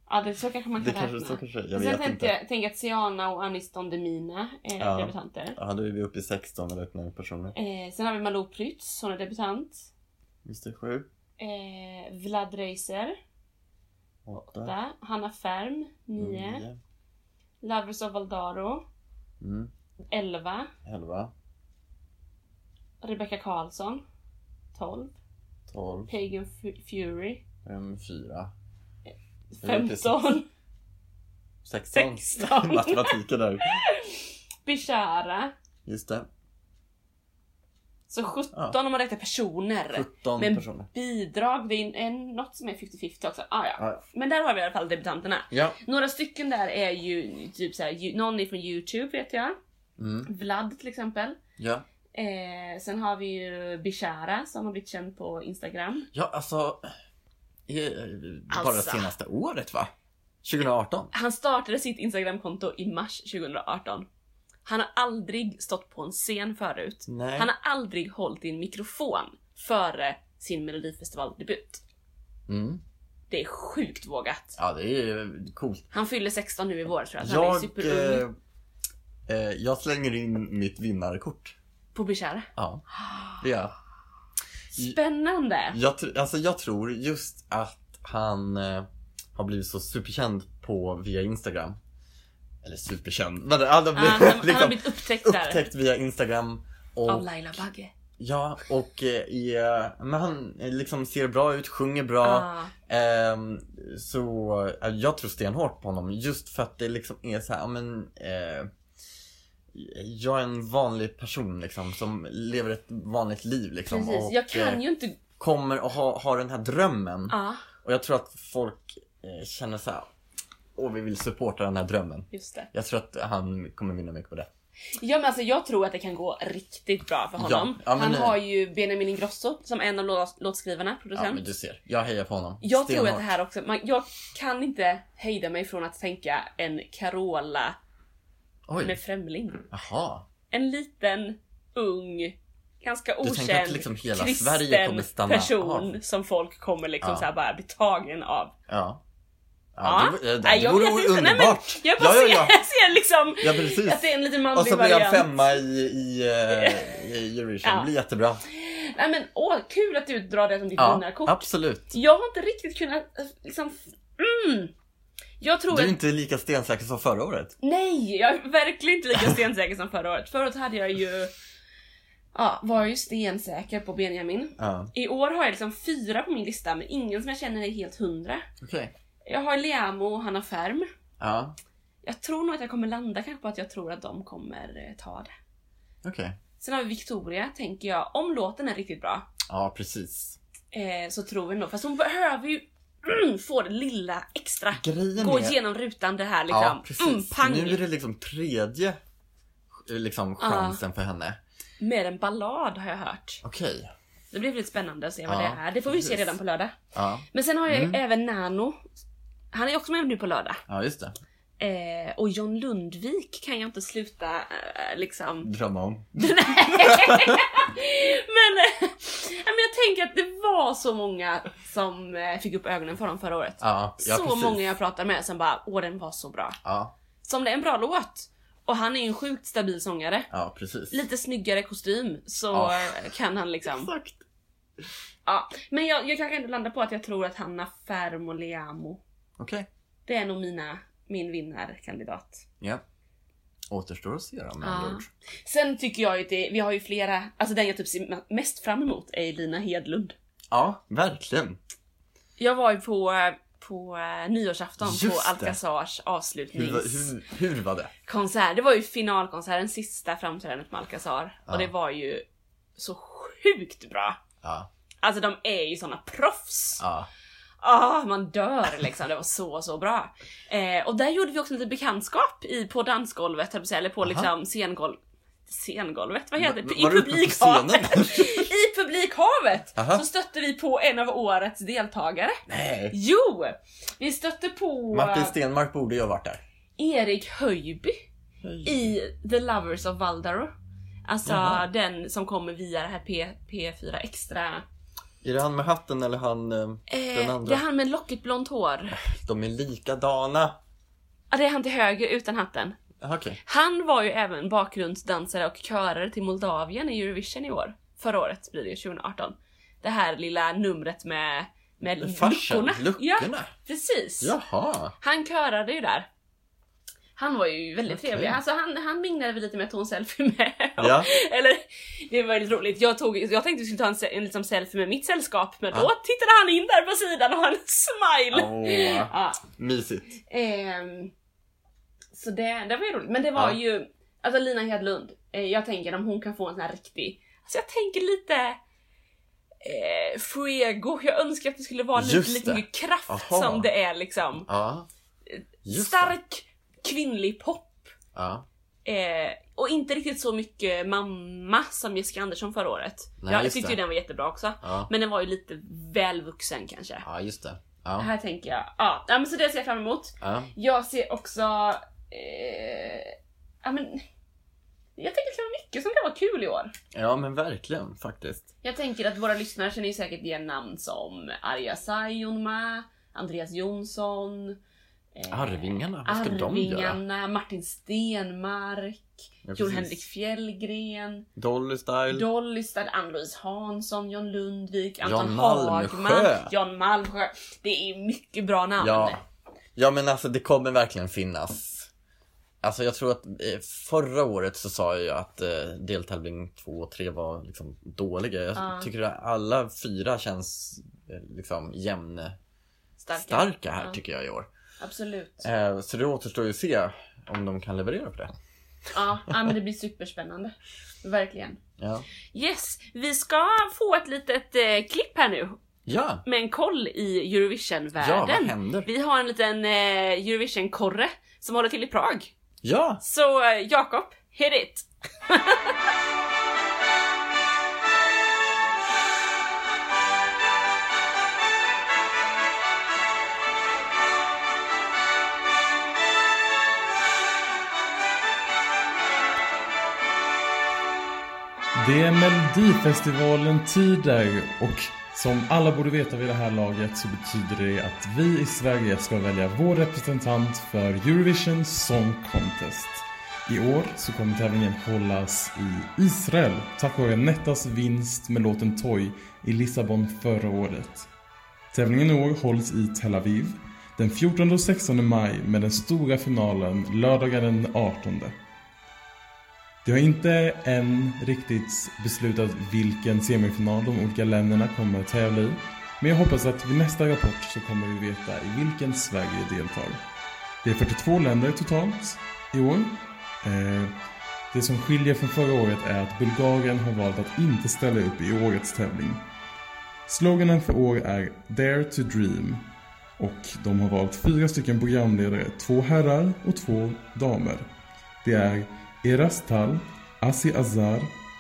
Speaker 1: Ja, det, så kanske man
Speaker 2: det
Speaker 1: kan
Speaker 2: kanske
Speaker 1: räkna.
Speaker 2: så kanske Jag
Speaker 1: Sen
Speaker 2: vet
Speaker 1: tänkte
Speaker 2: inte.
Speaker 1: jag tänkte att Siana och Aniston Demina är
Speaker 2: Ja.
Speaker 1: debutanter.
Speaker 2: Ja, då är vi uppe i 16 eller öppnar personer.
Speaker 1: Eh, sen har vi Malou Prytz, hon är debutant.
Speaker 2: Visst är det sju?
Speaker 1: Eh, Vlad Reiser,
Speaker 2: Åtta.
Speaker 1: åtta. Hanna Färm, nio.
Speaker 2: Nio.
Speaker 1: Lovers of Valdaro,
Speaker 2: Mm.
Speaker 1: elva.
Speaker 2: Elva.
Speaker 1: Rebecca Karlsson, tolv.
Speaker 2: Tolv.
Speaker 1: Pagan Fu- Fury,
Speaker 2: Fem. Fyra. Det är precis.
Speaker 1: femton.
Speaker 2: 16.
Speaker 1: Sexton.
Speaker 2: Matematiken där.
Speaker 1: Bishara.
Speaker 2: Just det.
Speaker 1: Så 17
Speaker 2: Ja.
Speaker 1: om man räknar personer.
Speaker 2: 17
Speaker 1: Men-
Speaker 2: personer.
Speaker 1: Bidrag, det är en- en, något som är 50-50 också. Ah, ja.
Speaker 2: Ja, ja.
Speaker 1: Men där har vi i alla fall debutanterna.
Speaker 2: Ja.
Speaker 1: Några stycken där är ju typ såhär, ju- någon är från Youtube vet jag.
Speaker 2: Mm.
Speaker 1: Vlad till exempel.
Speaker 2: Ja.
Speaker 1: Eh, sen har vi ju Bishara som har blivit känd på Instagram.
Speaker 2: ja, alltså. eh, Bara
Speaker 1: Alltså.
Speaker 2: senaste året va? 2018?
Speaker 1: Han startade sitt Instagramkonto i mars 2018. Han har aldrig stått på en scen förut.
Speaker 2: Nej.
Speaker 1: Han har aldrig hållit i en mikrofon före sin melodifestivaldebut.
Speaker 2: Mm.
Speaker 1: Det är sjukt vågat.
Speaker 2: Ja, det är ju coolt.
Speaker 1: Han fyller 16 nu i vår tror jag, så han är
Speaker 2: Jag,
Speaker 1: superung.
Speaker 2: eh, eh, jag slänger in mitt vinnarkort.
Speaker 1: På Bishara.
Speaker 2: Ja, det gör jag.
Speaker 1: Spännande!
Speaker 2: Jag, tr- alltså jag tror just att han eh, har blivit så superkänd på via Instagram. Eller superkänd. Men, han har
Speaker 1: Han,
Speaker 2: blivit,
Speaker 1: han, han har
Speaker 2: liksom,
Speaker 1: blivit upptäckt där.
Speaker 2: upptäckt via Instagram. Och,
Speaker 1: Av Laila Bagge.
Speaker 2: ja, och eh, är, men han eh, liksom ser bra ut, sjunger bra.
Speaker 1: Ah,
Speaker 2: Ehm, så eh, jag tror stenhårt på honom just för att det liksom är så här, ja, men eh, jag är en vanlig person liksom som lever ett vanligt liv liksom.
Speaker 1: precis.
Speaker 2: och,
Speaker 1: Jag
Speaker 2: eh,
Speaker 1: kan ju inte...
Speaker 2: kommer att ha, ha den här drömmen.
Speaker 1: Ja,
Speaker 2: Och jag tror att folk eh, känner så här. Åh, vi vill supporta den här drömmen.
Speaker 1: just det.
Speaker 2: Jag tror att han kommer vinna mycket på det.
Speaker 1: Ja men alltså jag tror att det kan gå riktigt bra för honom.
Speaker 2: Ja, ja, men
Speaker 1: han
Speaker 2: nu-
Speaker 1: har ju Benjamin Ingrosso som en av lå- låtskrivarna,
Speaker 2: Ja,
Speaker 1: producent.
Speaker 2: men du ser. Jag hejar på honom.
Speaker 1: Jag tror
Speaker 2: Stenhårt.
Speaker 1: att det här också, man, jag kan inte hejda mig från att tänka en Carola med
Speaker 2: Oj,
Speaker 1: främling.
Speaker 2: jaha.
Speaker 1: En liten, ung, ganska
Speaker 2: Du tänker
Speaker 1: okänd,
Speaker 2: att liksom hela Sverige
Speaker 1: kristen
Speaker 2: kommer stanna
Speaker 1: person
Speaker 2: av?
Speaker 1: som folk kommer liksom
Speaker 2: Ja.
Speaker 1: så här bara bli tagen av.
Speaker 2: Ja.
Speaker 1: Ja.
Speaker 2: Ja, det, det,
Speaker 1: Nej,
Speaker 2: det,
Speaker 1: jag
Speaker 2: vore
Speaker 1: vet inte. Nej, men
Speaker 2: underbart.
Speaker 1: Jag bara
Speaker 2: ja,
Speaker 1: Ser,
Speaker 2: ja, ja.
Speaker 1: ser liksom
Speaker 2: ja, precis.
Speaker 1: att det är en liten
Speaker 2: Och
Speaker 1: manlig
Speaker 2: så blir han
Speaker 1: variant.
Speaker 2: femma i, i, eh, i Eurovision.
Speaker 1: Ja.
Speaker 2: Det blir jättebra.
Speaker 1: Nej men åh, kul att du drar det som ditt
Speaker 2: Ja,
Speaker 1: vinnarkort.
Speaker 2: absolut.
Speaker 1: Jag har inte riktigt kunnat eh, liksom... Mm. Jag tror
Speaker 2: Du är
Speaker 1: att...
Speaker 2: inte lika stensäker som förra året.
Speaker 1: Nej, jag är verkligen inte lika stensäker som förra året. Förra året hade jag ju Ja, var ju stensäker på Benjamin.
Speaker 2: Ja.
Speaker 1: I år har jag liksom fyra på min lista men ingen som jag känner är helt hundra.
Speaker 2: Okej.
Speaker 1: Jag har Liamo och Hanna Färm.
Speaker 2: Ja.
Speaker 1: Jag tror nog att jag kommer landa kanske på att jag tror att de kommer eh, ta det.
Speaker 2: Okej.
Speaker 1: Sen har vi Victoria, tänker jag. Om låten är riktigt bra
Speaker 2: Ja, precis.
Speaker 1: eh, så tror vi nog, fast hon behöver ju få det lilla extra.
Speaker 2: Grejen
Speaker 1: Gå
Speaker 2: är...
Speaker 1: igenom rutan det här liksom.
Speaker 2: Ja, precis.
Speaker 1: Mm, pang!
Speaker 2: Nu är det liksom tredje eh, liksom, chansen för henne.
Speaker 1: Med en ballad har jag hört.
Speaker 2: Okej.
Speaker 1: Det blir väldigt spännande att se vad
Speaker 2: Ja,
Speaker 1: det är. Det får vi ju se
Speaker 2: precis.
Speaker 1: redan på lördag.
Speaker 2: Ja.
Speaker 1: Men sen har jag
Speaker 2: Mm.
Speaker 1: även Nano. Han är också med nu på lördag.
Speaker 2: ja, just det.
Speaker 1: Eh, och John Lundvik kan jag inte sluta eh, liksom...
Speaker 2: Drömma om.
Speaker 1: Men, eh, ja, men jag tänker att det var så många som eh, fick upp ögonen för dem förra året.
Speaker 2: Ja, ja
Speaker 1: så
Speaker 2: precis.
Speaker 1: många jag pratade med som bara åh den var så bra.
Speaker 2: Ja,
Speaker 1: Som det är en bra låt. Och han är ju en sjukt stabil sångare.
Speaker 2: ja precis.
Speaker 1: Lite snyggare kostym så
Speaker 2: Ja.
Speaker 1: eh, kan han liksom.
Speaker 2: Exakt.
Speaker 1: Ja. Men jag, jag kanske ändå landar på att jag tror att Hanna Ferm och Liamo.
Speaker 2: Okej.
Speaker 1: Det är nog mina, min vinnarkandidat.
Speaker 2: Ja. Återstår att se då med
Speaker 1: Ja.
Speaker 2: andra ord.
Speaker 1: Sen tycker jag ju att det, vi har ju flera, alltså den jag typ ser mest fram emot är Lina Hedlund.
Speaker 2: Ja, verkligen.
Speaker 1: Jag var ju på, på eh, nyårsafton
Speaker 2: Just
Speaker 1: på
Speaker 2: det.
Speaker 1: Alcazars
Speaker 2: Hur, var-
Speaker 1: avslutningskonsert.
Speaker 2: hur, hur var det?
Speaker 1: Det var ju finalkonserten, sista framträdandet med Alcazar.
Speaker 2: Ja.
Speaker 1: Och det var ju så sjukt bra.
Speaker 2: Ja,
Speaker 1: Alltså de är ju såna proffs.
Speaker 2: ja,
Speaker 1: Ah, man dör liksom. Det var så, så bra. Eh, och där gjorde vi också lite bekantskap i, på dansgolvet, höll jag på att säga, eller på
Speaker 2: Aha.
Speaker 1: liksom scengolv... Scengolvet? Vad heter
Speaker 2: Va-
Speaker 1: det? I
Speaker 2: var du uppe på
Speaker 1: publikhavet!
Speaker 2: scenen?
Speaker 1: I publikhavet!
Speaker 2: Aha.
Speaker 1: Så stötte vi på en av årets deltagare.
Speaker 2: Nej.
Speaker 1: Jo! Vi stötte på eh,
Speaker 2: Martin Stenmark borde ju ha varit där.
Speaker 1: Erik Höjby i The Lovers of Valdaro. Alltså
Speaker 2: Jaha.
Speaker 1: den som kommer via det här P, P4 Extra.
Speaker 2: Är det han med hatten eller han... eh, Den
Speaker 1: Eh,
Speaker 2: andra.
Speaker 1: det är han med lockigt blont hår.
Speaker 2: De är likadana.
Speaker 1: Ja, det är han till höger utan hatten.
Speaker 2: Jaha, Okej.
Speaker 1: Han var ju även bakgrundsdansare och körare till Moldavien i Eurovision i år. Förra året blir det ju, 2018. Det här lilla numret med, med
Speaker 2: Farsen,
Speaker 1: luckorna.
Speaker 2: luckorna.
Speaker 1: Ja, precis.
Speaker 2: Jaha.
Speaker 1: Han körade ju där. Han var ju väldigt
Speaker 2: Okej.
Speaker 1: trevlig. Alltså han, han minglade vi lite med att tog en selfie med.
Speaker 2: Ja.
Speaker 1: Eller, det var väldigt roligt. Jag, tog, jag tänkte vi skulle ta en, se- en liksom selfie med mitt sällskap, men då
Speaker 2: Ja.
Speaker 1: tittade han in där på sidan och han smile.
Speaker 2: Åh,
Speaker 1: Ja.
Speaker 2: mysigt.
Speaker 1: Ehm, så det, det var ju roligt. Men det var
Speaker 2: Ja.
Speaker 1: ju, alltså Lina Hedlund, eh, jag tänker om hon kan få en sån här riktig, alltså jag tänker lite eh, fuego. Jag önskar att det skulle vara lite,
Speaker 2: Just
Speaker 1: lite
Speaker 2: det.
Speaker 1: mer kraft
Speaker 2: Aha.
Speaker 1: som det är liksom.
Speaker 2: Ja. Just det.
Speaker 1: Stark kvinnlig pop.
Speaker 2: Ja.
Speaker 1: Eh, och inte riktigt så mycket mamma som Jessica Andersson förra året.
Speaker 2: Nej,
Speaker 1: jag
Speaker 2: just
Speaker 1: tyckte
Speaker 2: det.
Speaker 1: ju den var jättebra också.
Speaker 2: Ja.
Speaker 1: Men den var ju lite väl vuxen kanske.
Speaker 2: ja, just det. Ja.
Speaker 1: Här tänker jag, ja, ja men så det ser jag fram emot.
Speaker 2: ja.
Speaker 1: Jag ser också... Eh, ja, men, jag tänker att det kan vara mycket som kan vara kul i år.
Speaker 2: Ja, men verkligen faktiskt.
Speaker 1: Jag tänker att våra lyssnare känner ju säkert igen namn som Arja Saijonmaa, Andreas Jonsson, eh,
Speaker 2: Arvingarna, vad ska de göra?
Speaker 1: Arvingarna, Martin Stenmark,
Speaker 2: Ja,
Speaker 1: Jon
Speaker 2: precis.
Speaker 1: Henrik Fjällgren,
Speaker 2: Dolly Style.
Speaker 1: Dolly Stad, Ann-Louise Hansson, John Lundvik, Anton
Speaker 2: Jan Malmsjö.
Speaker 1: Hagman, Jan Malmsjö. Det är mycket bra namn.
Speaker 2: Ja. ja, men alltså det kommer verkligen finnas. Alltså jag tror att eh, förra året så sa jag ju att eh, deltävling 2 och 3 var liksom dåliga. Jag
Speaker 1: Ja.
Speaker 2: tycker att alla fyra känns eh, liksom jämnstarka
Speaker 1: Starka.
Speaker 2: här
Speaker 1: Ja.
Speaker 2: tycker jag i år.
Speaker 1: Absolut.
Speaker 2: Eh, så det återstår ju att se om de kan leverera på det.
Speaker 1: Ja, ja men det blir superspännande. Verkligen.
Speaker 2: Ja.
Speaker 1: Yes, vi ska få ett litet eh, klipp här nu
Speaker 2: Ja,
Speaker 1: med en koll i
Speaker 2: ja vad
Speaker 1: Eurovision-världen.
Speaker 2: händer?
Speaker 1: vi har en liten eh, Eurovision-korre som håller till i Prag.
Speaker 2: Ja,
Speaker 1: Så eh, Jakob, hit it!
Speaker 3: Det är Melodifestivalen-tider och som alla borde veta vid det här laget så betyder det att vi i Sverige ska välja vår representant för Eurovision Song Contest. I år så kommer tävlingen hållas i Israel tack vare Nettas vinst med låten Toy i Lissabon förra året. Tävlingen i år hålls i Tel Aviv den 14 och 16 maj med den stora finalen lördagen den 18. Det har inte än riktigt beslutat vilken semifinal de olika länderna kommer att tävla i. Men jag hoppas att vid nästa rapport så kommer vi veta i vilken Sverige deltar. Det är 42 länder totalt i år. Eh, Det som skiljer från förra året är att Bulgarien har valt att inte ställa upp i årets tävling. Sloganen för år är Dare to Dream och de har valt fyra stycken programledare, två herrar och två damer. Det är Eras Tal, Asi Azar,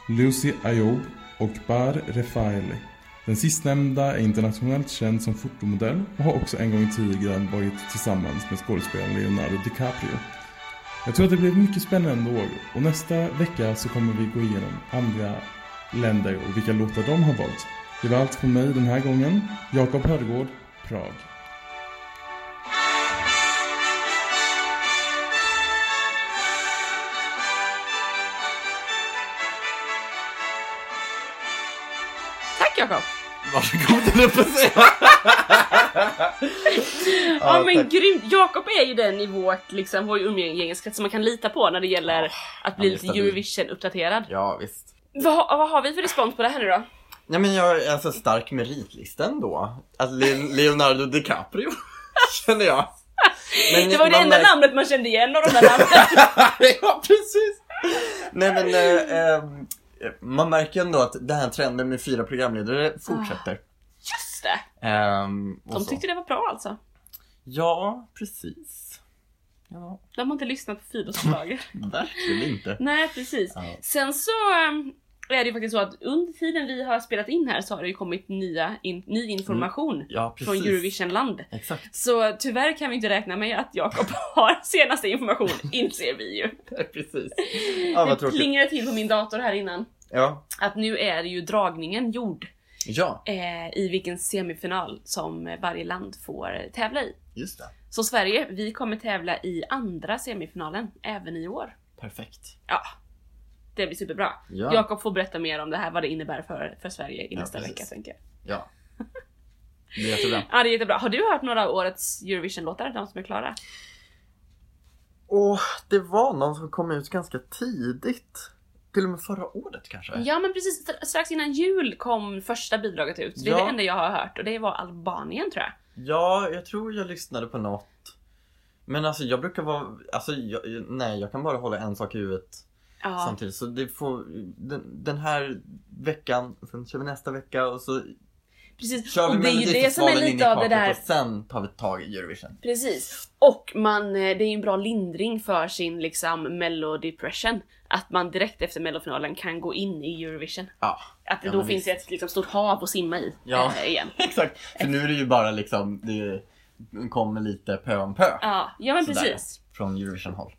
Speaker 3: Lucy Ayoub och Bar Refaeli. Den sistnämnda är internationellt känd som fotomodell och har också en gång i tiden varit tillsammans med skådespelaren Leonardo DiCaprio. Jag tror att det blir ett mycket spännande år och nästa vecka så kommer vi gå igenom andra länder och vilka låtar de har valt. Det var allt från mig den här gången. Jakob Hödegård, Prag.
Speaker 1: Tack Jakob!
Speaker 2: Varsågod höll jag på att säga.
Speaker 1: Ja,
Speaker 2: Ja,
Speaker 1: men
Speaker 2: tack.
Speaker 1: grymt! Jakob är ju den i vårt, liksom, vår umgängeskrets som man kan lita på när det gäller
Speaker 2: Ja,
Speaker 1: att bli
Speaker 2: han är
Speaker 1: lite
Speaker 2: stabil.
Speaker 1: Eurovision-uppdaterad.
Speaker 2: Ja, visst.
Speaker 1: Vad, vad har vi för respons på det här nu då?
Speaker 2: Nej men jag är alltså stark meritlista ändå. Att Le- Leonardo DiCaprio, känner jag. Men
Speaker 1: Det var det
Speaker 2: man
Speaker 1: enda
Speaker 2: märker-
Speaker 1: namnet man kände igen av de där namnen.
Speaker 2: ja, precis. Nej men, eh, eh, man märker ändå att den här trenden med fyra programledare fortsätter.
Speaker 1: Just det!
Speaker 2: Ehm, och
Speaker 1: Ah. De
Speaker 2: så.
Speaker 1: tyckte det var bra alltså.
Speaker 2: Ja, precis. Ja,
Speaker 1: De har inte lyssnat på Fibers förslag.
Speaker 2: verkligen inte.
Speaker 1: Nej precis.
Speaker 2: Ja.
Speaker 1: Sen så ehm, är det ju faktiskt så att under tiden vi har spelat in här så har det ju kommit nya in, ny information
Speaker 2: Mm. Ja,
Speaker 1: från
Speaker 2: precis.
Speaker 1: Eurovisionland.
Speaker 2: Exakt,
Speaker 1: Så tyvärr kan vi inte räkna med att Jakob har senaste information, inser vi ju.
Speaker 2: Ja, precis. Ja, vad
Speaker 1: det
Speaker 2: tråkigt.
Speaker 1: plingade till på min dator här innan.
Speaker 2: Ja.
Speaker 1: Att nu är ju dragningen gjord
Speaker 2: ja,
Speaker 1: eh, i vilken semifinal som varje land får tävla i.
Speaker 2: just det.
Speaker 1: Så Sverige, vi kommer tävla i andra semifinalen även i år.
Speaker 2: Perfekt.
Speaker 1: Ja, det blir superbra.
Speaker 2: Ja.
Speaker 1: Jakob får berätta mer om det här, vad det innebär för, för Sverige i
Speaker 2: Ja,
Speaker 1: nästa
Speaker 2: precis.
Speaker 1: vecka tänker jag.
Speaker 2: Ja. Det är jättebra.
Speaker 1: Ja, det är jättebra. Har du hört några av årets Eurovision-låtar, de som är klara?
Speaker 2: Och det var någon som kom ut ganska tidigt. Till och med förra året kanske?
Speaker 1: Ja, men precis. Str- Strax innan jul kom första bidraget ut. Det är
Speaker 2: Ja.
Speaker 1: det enda jag har hört och det var Albanien tror jag.
Speaker 2: Ja, jag tror jag lyssnade på något. Men alltså jag brukar vara, alltså jag, nej jag kan bara hålla en sak i huvudet
Speaker 1: Ja,
Speaker 2: samtidigt. Så det får, den, den här veckan, sen kör vi nästa vecka och så
Speaker 1: precis.
Speaker 2: kör
Speaker 1: Och
Speaker 2: vi
Speaker 1: det är ju det som är
Speaker 2: Melodifestivalen in i
Speaker 1: lite av det
Speaker 2: kaklet
Speaker 1: där.
Speaker 2: och sen tar vi tag i Eurovision.
Speaker 1: Precis. Och man, eh, det är ju en bra lindring för sin liksom mellodepression. Att man direkt efter mellofinalen kan gå in i Eurovision.
Speaker 2: Ja,
Speaker 1: Att det
Speaker 2: Ja,
Speaker 1: då
Speaker 2: men
Speaker 1: finns ett liksom, stort hav att simma i
Speaker 2: Ja.
Speaker 1: eh, igen.
Speaker 2: exakt. För nu är det ju bara liksom, det kommer lite pö om pö
Speaker 1: Ja, ja men
Speaker 2: Sådär.
Speaker 1: precis.
Speaker 2: från Eurovision-håll.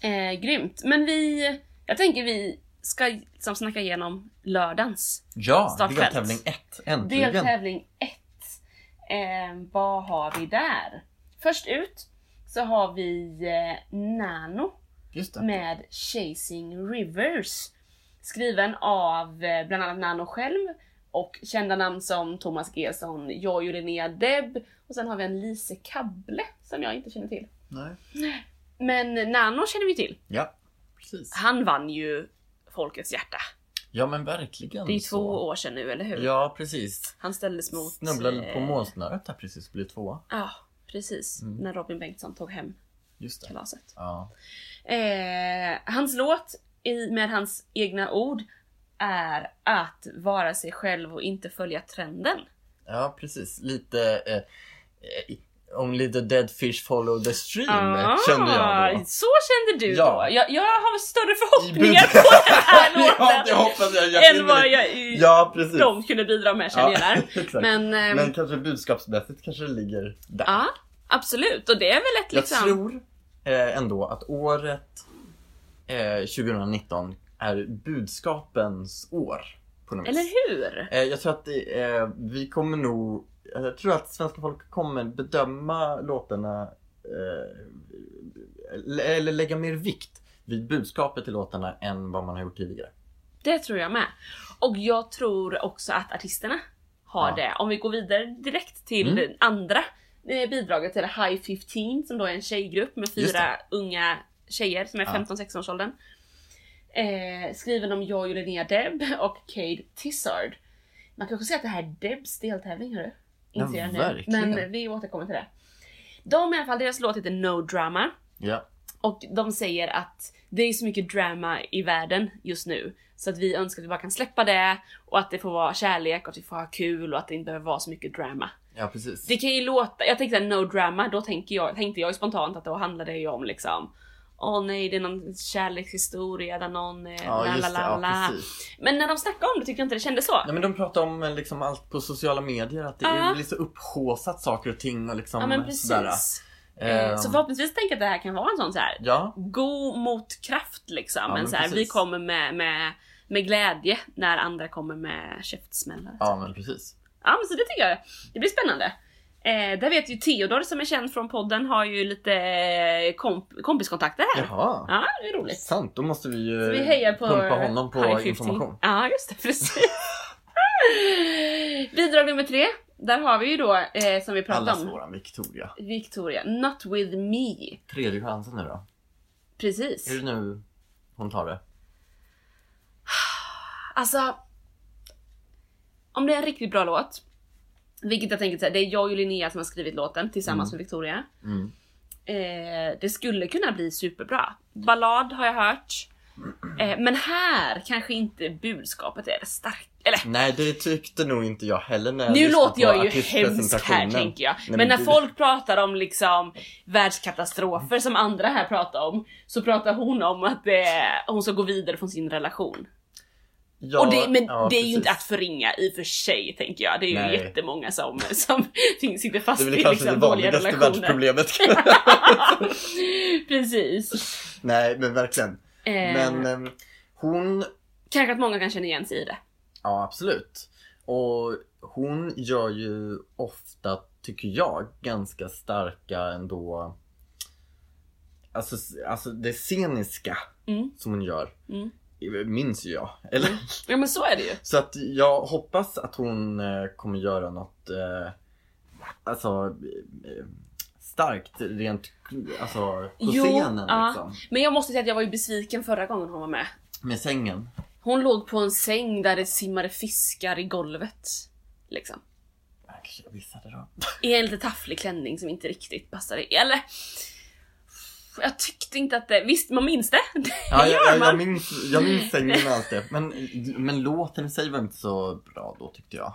Speaker 1: Eh, grymt. Men vi, jag tänker vi ska liksom snacka igenom lördagens
Speaker 2: Ja,
Speaker 1: Startfält.
Speaker 2: deltävling 1, äntligen.
Speaker 1: deltävling 1. Eh, vad har vi där? Först ut så har vi eh, Nano
Speaker 2: Just det.
Speaker 1: med Chasing Rivers. Skriven av eh, bland annat Nano själv och kända namn som Thomas Gesson, Jojo Linnea Deb och sen har vi en Lise Kable som jag inte känner till.
Speaker 2: Nej.
Speaker 1: Men Nano känner vi till.
Speaker 2: Ja, precis.
Speaker 1: Han vann ju Folkets hjärta.
Speaker 2: Ja men verkligen.
Speaker 1: Det är ju
Speaker 2: så.
Speaker 1: två år sedan nu, eller hur?
Speaker 2: Ja, precis.
Speaker 1: Han ställdes mot...
Speaker 2: Snubblade på
Speaker 1: eh,
Speaker 2: målsnöret där precis och blev tvåa.
Speaker 1: Ja, precis. När Robin Bengtsson tog hem
Speaker 2: Just det.
Speaker 1: kalaset.
Speaker 2: Ja.
Speaker 1: Eh, hans låt, i, med hans egna ord, är att vara sig själv och inte följa trenden.
Speaker 2: ja, precis. Lite eh, eh, Only the dead fish follow the stream
Speaker 1: Ah,
Speaker 2: kände jag då.
Speaker 1: Så kände du
Speaker 2: Ja.
Speaker 1: då? Jag, jag har större
Speaker 2: I
Speaker 1: förhoppningar
Speaker 2: bud-
Speaker 1: på den här
Speaker 2: ja, det
Speaker 1: låten
Speaker 2: hoppas jag. jag
Speaker 1: än vad
Speaker 2: finner.
Speaker 1: jag, i-
Speaker 2: Ja, precis.
Speaker 1: de kunde bidra med känner jag där.
Speaker 2: exakt. Men,
Speaker 1: Men, ehm,
Speaker 2: kanske budskapsmässigt kanske det ligger där.
Speaker 1: ja, absolut. Och det är väl ett
Speaker 2: jag
Speaker 1: liksom...
Speaker 2: tror eh, ändå att året eh, 2019 är budskapens år. På något vis.
Speaker 1: Eller hur?
Speaker 2: Eh, jag tror att det, eh, vi kommer nog, jag tror att svenska folk kommer bedöma låtarna, eh, eller- eller lägga mer vikt vid budskapet i låtarna än vad man har gjort tidigare.
Speaker 1: Det tror jag med. Och jag tror också att artisterna har
Speaker 2: Ja.
Speaker 1: det. Om vi går vidare direkt till
Speaker 2: Mm.
Speaker 1: det andra eh, bidraget till High 15 som då är en tjejgrupp med
Speaker 2: Just
Speaker 1: fyra unga tjejer som är
Speaker 2: Ja.
Speaker 1: 15-16 års åldern. Eh, skriven om Joy och Linnea Deb och Cade Tissard. Man kanske säger att det här är Debs deltävling hörru. Inser
Speaker 2: Ja,
Speaker 1: jag nu.
Speaker 2: verkligen.
Speaker 1: Men vi återkommer till det. De i alla fall, deras låt heter No Drama.
Speaker 2: Ja.
Speaker 1: Och de säger att det är så mycket drama i världen just nu. Så att vi önskar att vi bara kan släppa det och att det får vara kärlek och att vi får ha kul och att det inte behöver vara så mycket drama.
Speaker 2: Ja, precis.
Speaker 1: Det kan ju låta, jag tänkte såhär no drama, då tänker jag, tänkte jag ju spontant att då handlade det ju om liksom Åh nej, det är någon kärlekshistoria där någon... eh, la,
Speaker 2: ja,
Speaker 1: la,
Speaker 2: just det.
Speaker 1: la, la."
Speaker 2: Ja, precis.
Speaker 1: Men när de snackade om det tyckte jag inte det kändes så.
Speaker 2: Nej men de pratar om eh, liksom allt på sociala medier, att det
Speaker 1: Ja.
Speaker 2: är blir så upphaussat saker och ting och liksom
Speaker 1: Ja men precis.
Speaker 2: sådär. Ehm,
Speaker 1: Eh, Så förhoppningsvis tänker jag att det här kan vara en sån så här
Speaker 2: Ja,
Speaker 1: god motkraft liksom.
Speaker 2: Ja,
Speaker 1: men
Speaker 2: men
Speaker 1: så här, vi
Speaker 2: precis.
Speaker 1: kommer med, med, med glädje när andra kommer med käftsmällar. Ja.
Speaker 2: ja men precis.
Speaker 1: men så det tycker jag, det blir spännande. Eh, där vet ju Theodor som är känd från podden har ju lite eh, komp- kompiskontakter här.
Speaker 2: Jaha,
Speaker 1: Ja, det är roligt.
Speaker 2: sant. Då måste vi ju
Speaker 1: Så vi hejar på
Speaker 2: Eh, pumpa honom
Speaker 1: High
Speaker 2: på
Speaker 1: 50.
Speaker 2: information.
Speaker 1: Ja, just det. Precis. Bidrag nummer tre. Där har vi ju då, eh, som vi
Speaker 2: Alla
Speaker 1: pratade om,
Speaker 2: våran Victoria.
Speaker 1: Victoria. Not with me.
Speaker 2: Tredje chansen nu då.
Speaker 1: Precis.
Speaker 2: Är det nu hon tar det?
Speaker 1: Alltså. Om det är en riktigt bra låt. Vilket jag tänker säga, det är jag och Linnea som har skrivit låten tillsammans med Victoria.
Speaker 2: Mm.
Speaker 1: Eh, det skulle kunna bli superbra. Ballad har jag hört. Eh, men här kanske inte budskapet är det starka. Eller
Speaker 2: Nej det tyckte nog inte jag heller när jag
Speaker 1: nu
Speaker 2: lyssnade
Speaker 1: låter jag
Speaker 2: på
Speaker 1: ju hemsk här
Speaker 2: artistpresentationen.
Speaker 1: tänker jag.
Speaker 2: Nej,
Speaker 1: Men när
Speaker 2: du-
Speaker 1: folk pratar om liksom världskatastrofer som andra här pratar om. Så pratar hon om att det är, hon ska gå vidare från sin relation.
Speaker 2: Ja,
Speaker 1: Och det, men
Speaker 2: ja,
Speaker 1: det är ju inte att
Speaker 2: precis.
Speaker 1: förringa i och för sig tänker jag. Det är ju
Speaker 2: Nej.
Speaker 1: jättemånga som, som sitter
Speaker 2: Det
Speaker 1: fast
Speaker 2: är
Speaker 1: i
Speaker 2: väl kanske
Speaker 1: liksom
Speaker 2: det
Speaker 1: dåliga
Speaker 2: vanligaste
Speaker 1: relationer.
Speaker 2: världsproblemet.
Speaker 1: Precis.
Speaker 2: Nej men verkligen.
Speaker 1: Eh,
Speaker 2: Men ehm, hon
Speaker 1: Kanske att många kan känna igen sig i det.
Speaker 2: Ja, absolut. Och hon gör ju ofta, tycker jag, ganska starka ändå... Alltså, alltså det sceniska
Speaker 1: Mm.
Speaker 2: som hon gör,
Speaker 1: Mm.
Speaker 2: minns ju jag. Eller?
Speaker 1: Ja men så är det ju.
Speaker 2: Så att jag hoppas att hon eh, kommer göra något eh, alltså, eh, starkt rent alltså, på
Speaker 1: Jo,
Speaker 2: scenen.
Speaker 1: ja.
Speaker 2: Liksom.
Speaker 1: Men jag måste säga att jag var ju besviken förra gången hon var med.
Speaker 2: Med sängen.
Speaker 1: Hon låg på en säng där det simmade fiskar i golvet. Liksom.
Speaker 2: Jag kanske missade då.
Speaker 1: I en lite tafflig klänning som inte riktigt passade. Eller... Jag tyckte inte att det... Visst, man minns det. Det
Speaker 2: Ja,
Speaker 1: gör
Speaker 2: jag, jag,
Speaker 1: man.
Speaker 2: jag, minns, jag minns sängen och allt det. Men, men låten i sig var inte så bra då tyckte jag.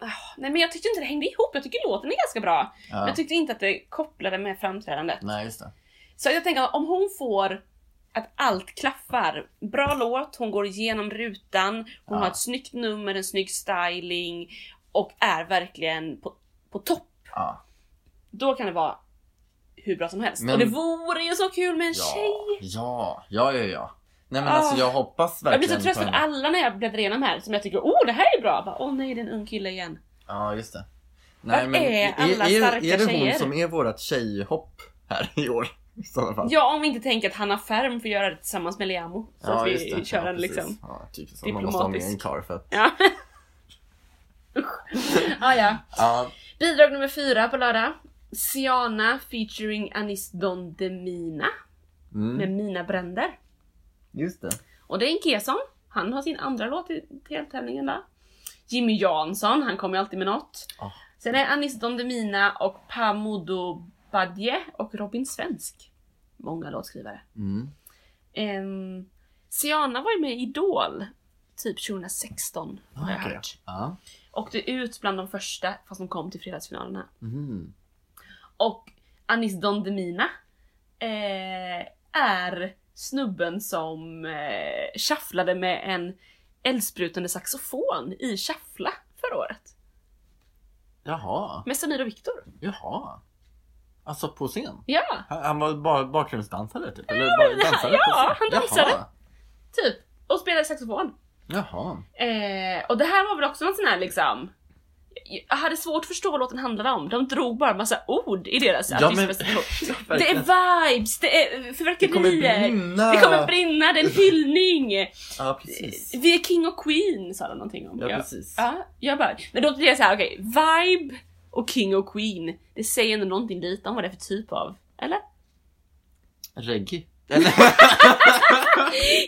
Speaker 1: Ah, Nej men jag tyckte inte det hängde ihop. Jag tycker låten är ganska bra. Men
Speaker 2: Ja.
Speaker 1: jag tyckte inte att det kopplade med framträdandet.
Speaker 2: Nej, just det.
Speaker 1: Så jag tänker om hon får att allt klaffar. Bra låt, hon går igenom rutan, hon
Speaker 2: Ja.
Speaker 1: har ett snyggt nummer, en snygg styling och är verkligen på, på topp.
Speaker 2: Ja.
Speaker 1: Då kan det vara hur bra som helst.
Speaker 2: Men-
Speaker 1: Och det vore ju så kul med en
Speaker 2: Ja,
Speaker 1: tjej!
Speaker 2: ja, ja, ja, ja. Nej men
Speaker 1: Ah.
Speaker 2: alltså jag hoppas
Speaker 1: Jag blir
Speaker 2: verkligen
Speaker 1: så trött
Speaker 2: på
Speaker 1: för
Speaker 2: henne.
Speaker 1: alla när jag bläddrar igenom här som jag tycker åh det här är bra. Bara, Åh nej det är en ung kille igen.
Speaker 2: Ja, just det. Nej,
Speaker 1: Vart är alla
Speaker 2: är,
Speaker 1: starka
Speaker 2: är det hon
Speaker 1: tjejer?
Speaker 2: som är vårat tjejhopp här i år? I sådana fall.
Speaker 1: Ja om vi inte tänker att Hanna Ferm får göra det tillsammans med Liamo. Så att
Speaker 2: just
Speaker 1: vi
Speaker 2: det.
Speaker 1: kör
Speaker 2: Ja,
Speaker 1: en
Speaker 2: precis.
Speaker 1: liksom
Speaker 2: Ja, typiskt. Man måste ha med en
Speaker 1: Diplomatisk.
Speaker 2: karl för att...
Speaker 1: Ja. ah, ja.
Speaker 2: Ja,
Speaker 1: Bidrag nummer fyra på lördag. Siana featuring Anis Don Demina
Speaker 2: mm,
Speaker 1: med Mina Bränder.
Speaker 2: just det.
Speaker 1: Och det är en Kesson. Han har sin andra låt i deltävlingen där. Jimmy Jansson, han kommer ju alltid med något.
Speaker 2: Ah.
Speaker 1: Sen är Anis Don Demina och Pamodo Badje och Robin Svensk. Många låtskrivare.
Speaker 2: Mm.
Speaker 1: Um, Siana var ju med i Idol, typ 2016 har jag
Speaker 2: Okej.
Speaker 1: hört.
Speaker 2: Ja.
Speaker 1: Åkte ut bland de första fast de kom till fredagsfinalen här.
Speaker 2: Mm.
Speaker 1: Och Anis Don Demina eh, är snubben som eh, shufflade med en eldsprutande saxofon i Shuffla förra året.
Speaker 2: Jaha,
Speaker 1: Med Samir och Viktor.
Speaker 2: jaha. Alltså på scen?
Speaker 1: Ja,
Speaker 2: Han han var bara bakgrundsdansare typ? Eller bara dansare
Speaker 1: ja,
Speaker 2: på scen?
Speaker 1: han dansade.
Speaker 2: Jaha.
Speaker 1: typ. Och spelade saxofon.
Speaker 2: Jaha.
Speaker 1: Eh, och det här var väl också någon sån här liksom jag hade svårt att förstå vad låten handlade om. De drog bara massa ord i deras
Speaker 2: Ja, men-
Speaker 1: artistpresentation. Det
Speaker 2: verkligen.
Speaker 1: är vibes, det är
Speaker 2: Det kommer
Speaker 1: fyrverkerier.
Speaker 2: brinna!
Speaker 1: Det kommer brinna, det är en hyllning.
Speaker 2: Ja, Ah. precis.
Speaker 1: Vi är king och queen sa de någonting om.
Speaker 2: Ja,
Speaker 1: Ja,
Speaker 2: precis.
Speaker 1: ja, jag bara, men då blir jag så här, okej, vibe och king och queen, det säger ändå någonting lite om vad det är för typ av, eller?
Speaker 2: Reggae.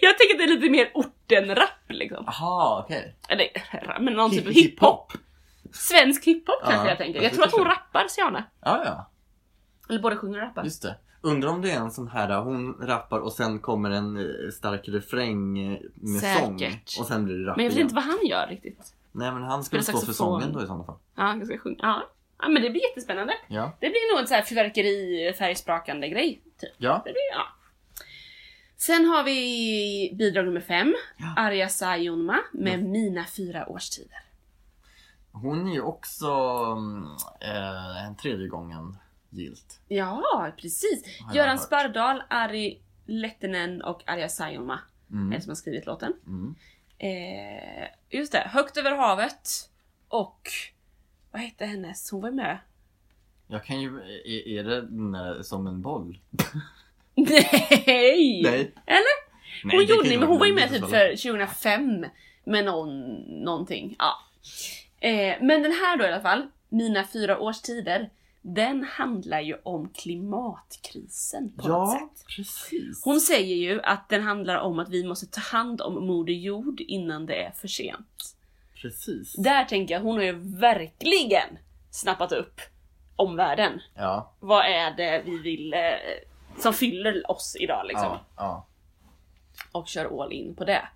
Speaker 1: Jag tänker att det är lite mer ortenrap liksom.
Speaker 2: Jaha, okej.
Speaker 1: Eller rap, men någon typ av
Speaker 2: Hip-
Speaker 1: hiphop. Svensk hiphop kanske
Speaker 2: Ja,
Speaker 1: jag tänker.
Speaker 2: jag
Speaker 1: Jag tror att hon
Speaker 2: tycker så.
Speaker 1: rappar Siana.
Speaker 2: Ja, ja.
Speaker 1: Eller både sjunger och rappar.
Speaker 2: Just det. Undrar om det är en sån här där hon rappar och sen kommer en eh, stark refräng eh, med
Speaker 1: Säkert.
Speaker 2: sång. Och sen blir det rap
Speaker 1: Men jag vet
Speaker 2: igen.
Speaker 1: inte vad han gör riktigt.
Speaker 2: Nej men han skulle
Speaker 1: Spelar
Speaker 2: stå för
Speaker 1: saxofon.
Speaker 2: sången då i sådana fall.
Speaker 1: Ja, han ska sjunga. Ja. ja, men det blir jättespännande.
Speaker 2: Ja.
Speaker 1: Det blir nog en sån här fyrverkeri, färgsprakande grej. Typ.
Speaker 2: Ja.
Speaker 1: Det blir, ja. Sen har vi bidrag nummer fem. Arja Saijonmaa med Mina fyra årstider.
Speaker 2: Hon är ju också mm, eh, en tredje gången gilt.
Speaker 1: Ja, precis.
Speaker 2: Har jag
Speaker 1: Göran
Speaker 2: hört.
Speaker 1: Spardal, Ari Lehtinen och Arja Saijonmaa
Speaker 2: Mm.
Speaker 1: är det som har skrivit låten.
Speaker 2: Mm.
Speaker 1: Eh, just det, Högt över havet och vad hette hennes? Hon var med.
Speaker 2: Jag kan ju, eh, är, är det den där som en boll?
Speaker 1: Nej!
Speaker 2: Nej.
Speaker 1: Eller?
Speaker 2: Nej,
Speaker 1: Hon
Speaker 2: det kan
Speaker 1: gjorde
Speaker 2: ju
Speaker 1: det,
Speaker 2: vara
Speaker 1: men hon var ju med
Speaker 2: Magnus
Speaker 1: typ
Speaker 2: och
Speaker 1: för 2005 med någon, någonting. Ja. Eh, men den här då i alla fall, Mina fyra årstider, den handlar ju om klimatkrisen på något
Speaker 2: Ja,
Speaker 1: sätt.
Speaker 2: precis.
Speaker 1: Hon säger ju att den handlar om att vi måste ta hand om Moder Jord innan det är för sent.
Speaker 2: Precis.
Speaker 1: Där tänker jag, hon har ju verkligen snappat upp omvärlden.
Speaker 2: Ja.
Speaker 1: Vad är det vi vill eh, som fyller oss idag liksom?
Speaker 2: ja, ja.
Speaker 1: och kör all in på det.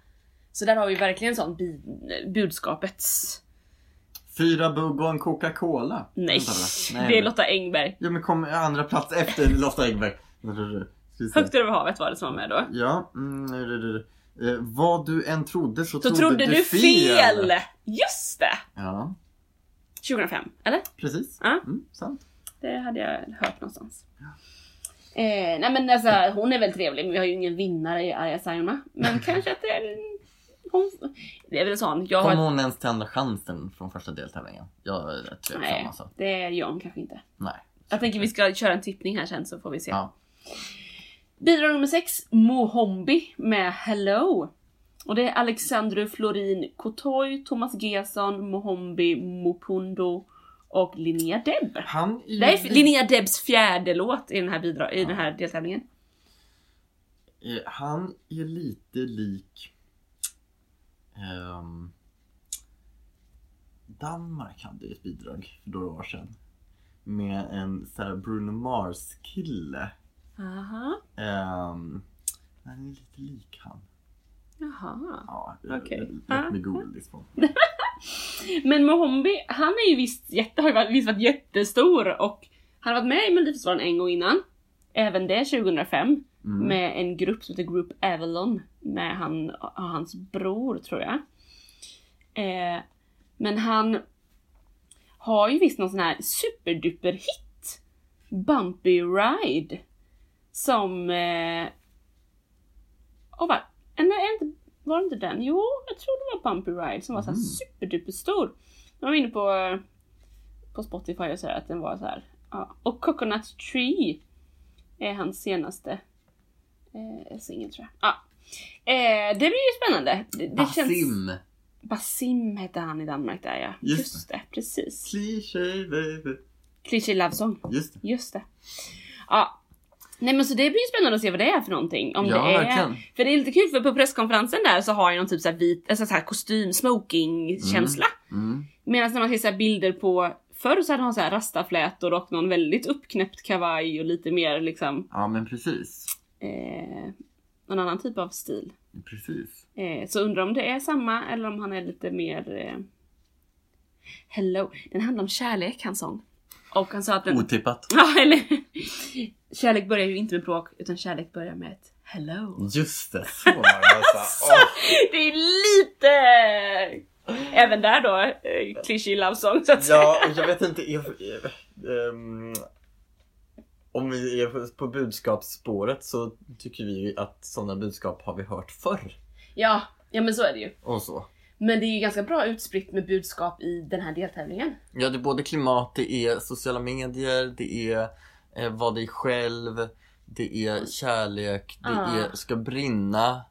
Speaker 1: Så där har vi verkligen sån bi- budskapets...
Speaker 2: Fyra bugg och en Coca-Cola.
Speaker 1: Nej,
Speaker 2: Vänta, vänta.
Speaker 1: det är Lotta Engberg.
Speaker 2: Ja men kom andra plats efter Lotta Engberg. Ska vi se.
Speaker 1: Högt över havet var det som var med då.
Speaker 2: Ja, mm, du, du, du. Eh, vad du än trodde så,
Speaker 1: Så trodde du fel! Just det!
Speaker 2: Ja,
Speaker 1: 2005, eller?
Speaker 2: precis.
Speaker 1: Ja.
Speaker 2: Mm, sant.
Speaker 1: Det hade jag hört någonstans. Eh, nej men alltså hon är väl trevlig, men vi har ju ingen vinnare i Arja Saijonmaa. Men kanske att det är... en- Hon, det är väl en sån. Jag har
Speaker 2: Kom hon ens till andra chansen från första deltävlingen? Jag är rätt tveksam
Speaker 1: Nej,
Speaker 2: alltså.
Speaker 1: det gör hon kanske inte.
Speaker 2: Nej.
Speaker 1: Jag tänker vi ska köra en tippning här sen så får vi se.
Speaker 2: Ja.
Speaker 1: Bidrag nummer 6, Mohombi med Hello. Och det är Alexandru Florin Kotoy, Thomas Gesson, Mohombi, Mopundo och Linnea Deb.
Speaker 2: Han är ju...
Speaker 1: Det är Linnea Debs fjärde låt i den här, bidra- i den här deltävlingen.
Speaker 2: eh, Han är lite lik... ehm, Danmark hade ju ett bidrag för några år sedan. Med en så här Bruno Mars-kille.
Speaker 1: Aha,
Speaker 2: Ehm, han är lite lik han.
Speaker 1: jaha.
Speaker 2: Ja,
Speaker 1: Okej.
Speaker 2: lätt med godis på.
Speaker 1: Men Mohombi, han är ju visst, jätte, har ju varit- visst varit jättestor och han har varit med i Melodifestivalen en gång innan. Även det 2005.
Speaker 2: Mm.
Speaker 1: Med en grupp som heter Group Avalon. Med han och hans bror tror jag. Eh, men han har ju visst någon sån här superduper hit. Bumpy Ride. Som... Eh, och va, en, en, var det inte den? Jo, jag tror det var Bumpy Ride som var så här
Speaker 2: Mm.
Speaker 1: superduper stor. Jag var inne på, eh, på Spotify och sådär att den var så här. Ja. Och Coconut Tree är hans senaste eh, singel tror jag. Ja. Eh, det blir ju spännande. Det, det Känns...
Speaker 2: Basim!
Speaker 1: Basim hette han i Danmark där ja.
Speaker 2: Just
Speaker 1: Just, det, precis.
Speaker 2: Cliché baby.
Speaker 1: Cliché Love Song.
Speaker 2: Just det.
Speaker 1: Just det. Ja. Nej men så det blir ju spännande att se vad det är för någonting. Om
Speaker 2: ja,
Speaker 1: det är...
Speaker 2: verkligen.
Speaker 1: För det är lite kul för på presskonferensen där så har jag någon typ så här vit, alltså så här kostym, smoking känsla.
Speaker 2: Mm.
Speaker 1: Medan när man ser så här bilder på förr så hade han så här rastaflätor och någon väldigt uppknäppt kavaj och lite mer liksom
Speaker 2: Ja, men precis.
Speaker 1: eh, någon annan typ av stil.
Speaker 2: Precis.
Speaker 1: Eh, så undrar om det är samma eller om han är lite mer... Eh... Hello. Den handlar om kärlek, hans sång. Och han sa att den...
Speaker 2: Otippat.
Speaker 1: Ja, eller... Kärlek börjar ju inte med bråk, utan kärlek börjar med ett hello.
Speaker 2: Just det, så var det alltså. Åh,
Speaker 1: Det är lite... Även där då, eh, klyschig love song så att säga.
Speaker 2: Ja, och jag vet inte. Jag, jag, ehm, om vi är på budskapsspåret så tycker vi ju att sådana budskap har vi hört förr.
Speaker 1: ja. Ja, men så är det ju.
Speaker 2: Och så.
Speaker 1: Men det är ju ganska bra utspritt med budskap i den här deltävlingen.
Speaker 2: Ja, det är både klimat, det är sociala medier, det är eh, vad dig själv, det är kärlek, det
Speaker 1: Ah.
Speaker 2: är ska brinna.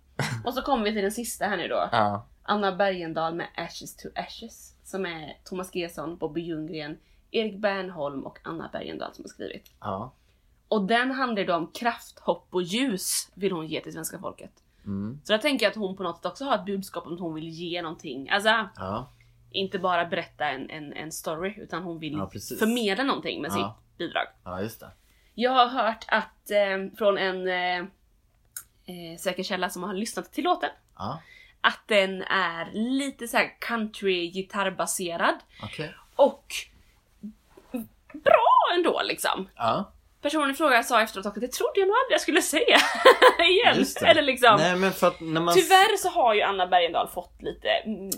Speaker 1: Och så kommer vi till den sista här nu då.
Speaker 2: Ja.
Speaker 1: Anna Bergendahl med Ashes to Ashes som är Thomas Gesson, Bobby Ljunggren, Erik Bernholm och Anna Bergendahl som har skrivit.
Speaker 2: ja.
Speaker 1: Och den handlar då om kraft, hopp och ljus vill hon ge till svenska folket.
Speaker 2: Mm.
Speaker 1: Så där tänker jag att hon på något sätt också har ett budskap om att hon vill ge någonting. Alltså
Speaker 2: Ja.
Speaker 1: inte bara berätta en, en, en story utan hon vill
Speaker 2: Ja, precis.
Speaker 1: förmedla någonting med
Speaker 2: Ja.
Speaker 1: sitt bidrag.
Speaker 2: ja, just det.
Speaker 1: Jag har hört att eh, från en eh, eh, säker källa som har lyssnat till låten
Speaker 2: Ja,
Speaker 1: att den är lite så här country gitarrbaserad
Speaker 2: okej.
Speaker 1: och bra ändå liksom.
Speaker 2: Ja,
Speaker 1: Personen i fråga sa efteråt att det trodde jag nog aldrig jag skulle säga igen.
Speaker 2: just det.
Speaker 1: Eller liksom.
Speaker 2: Nej, men för att när man...
Speaker 1: Tyvärr så har ju Anna Bergendahl fått lite mm,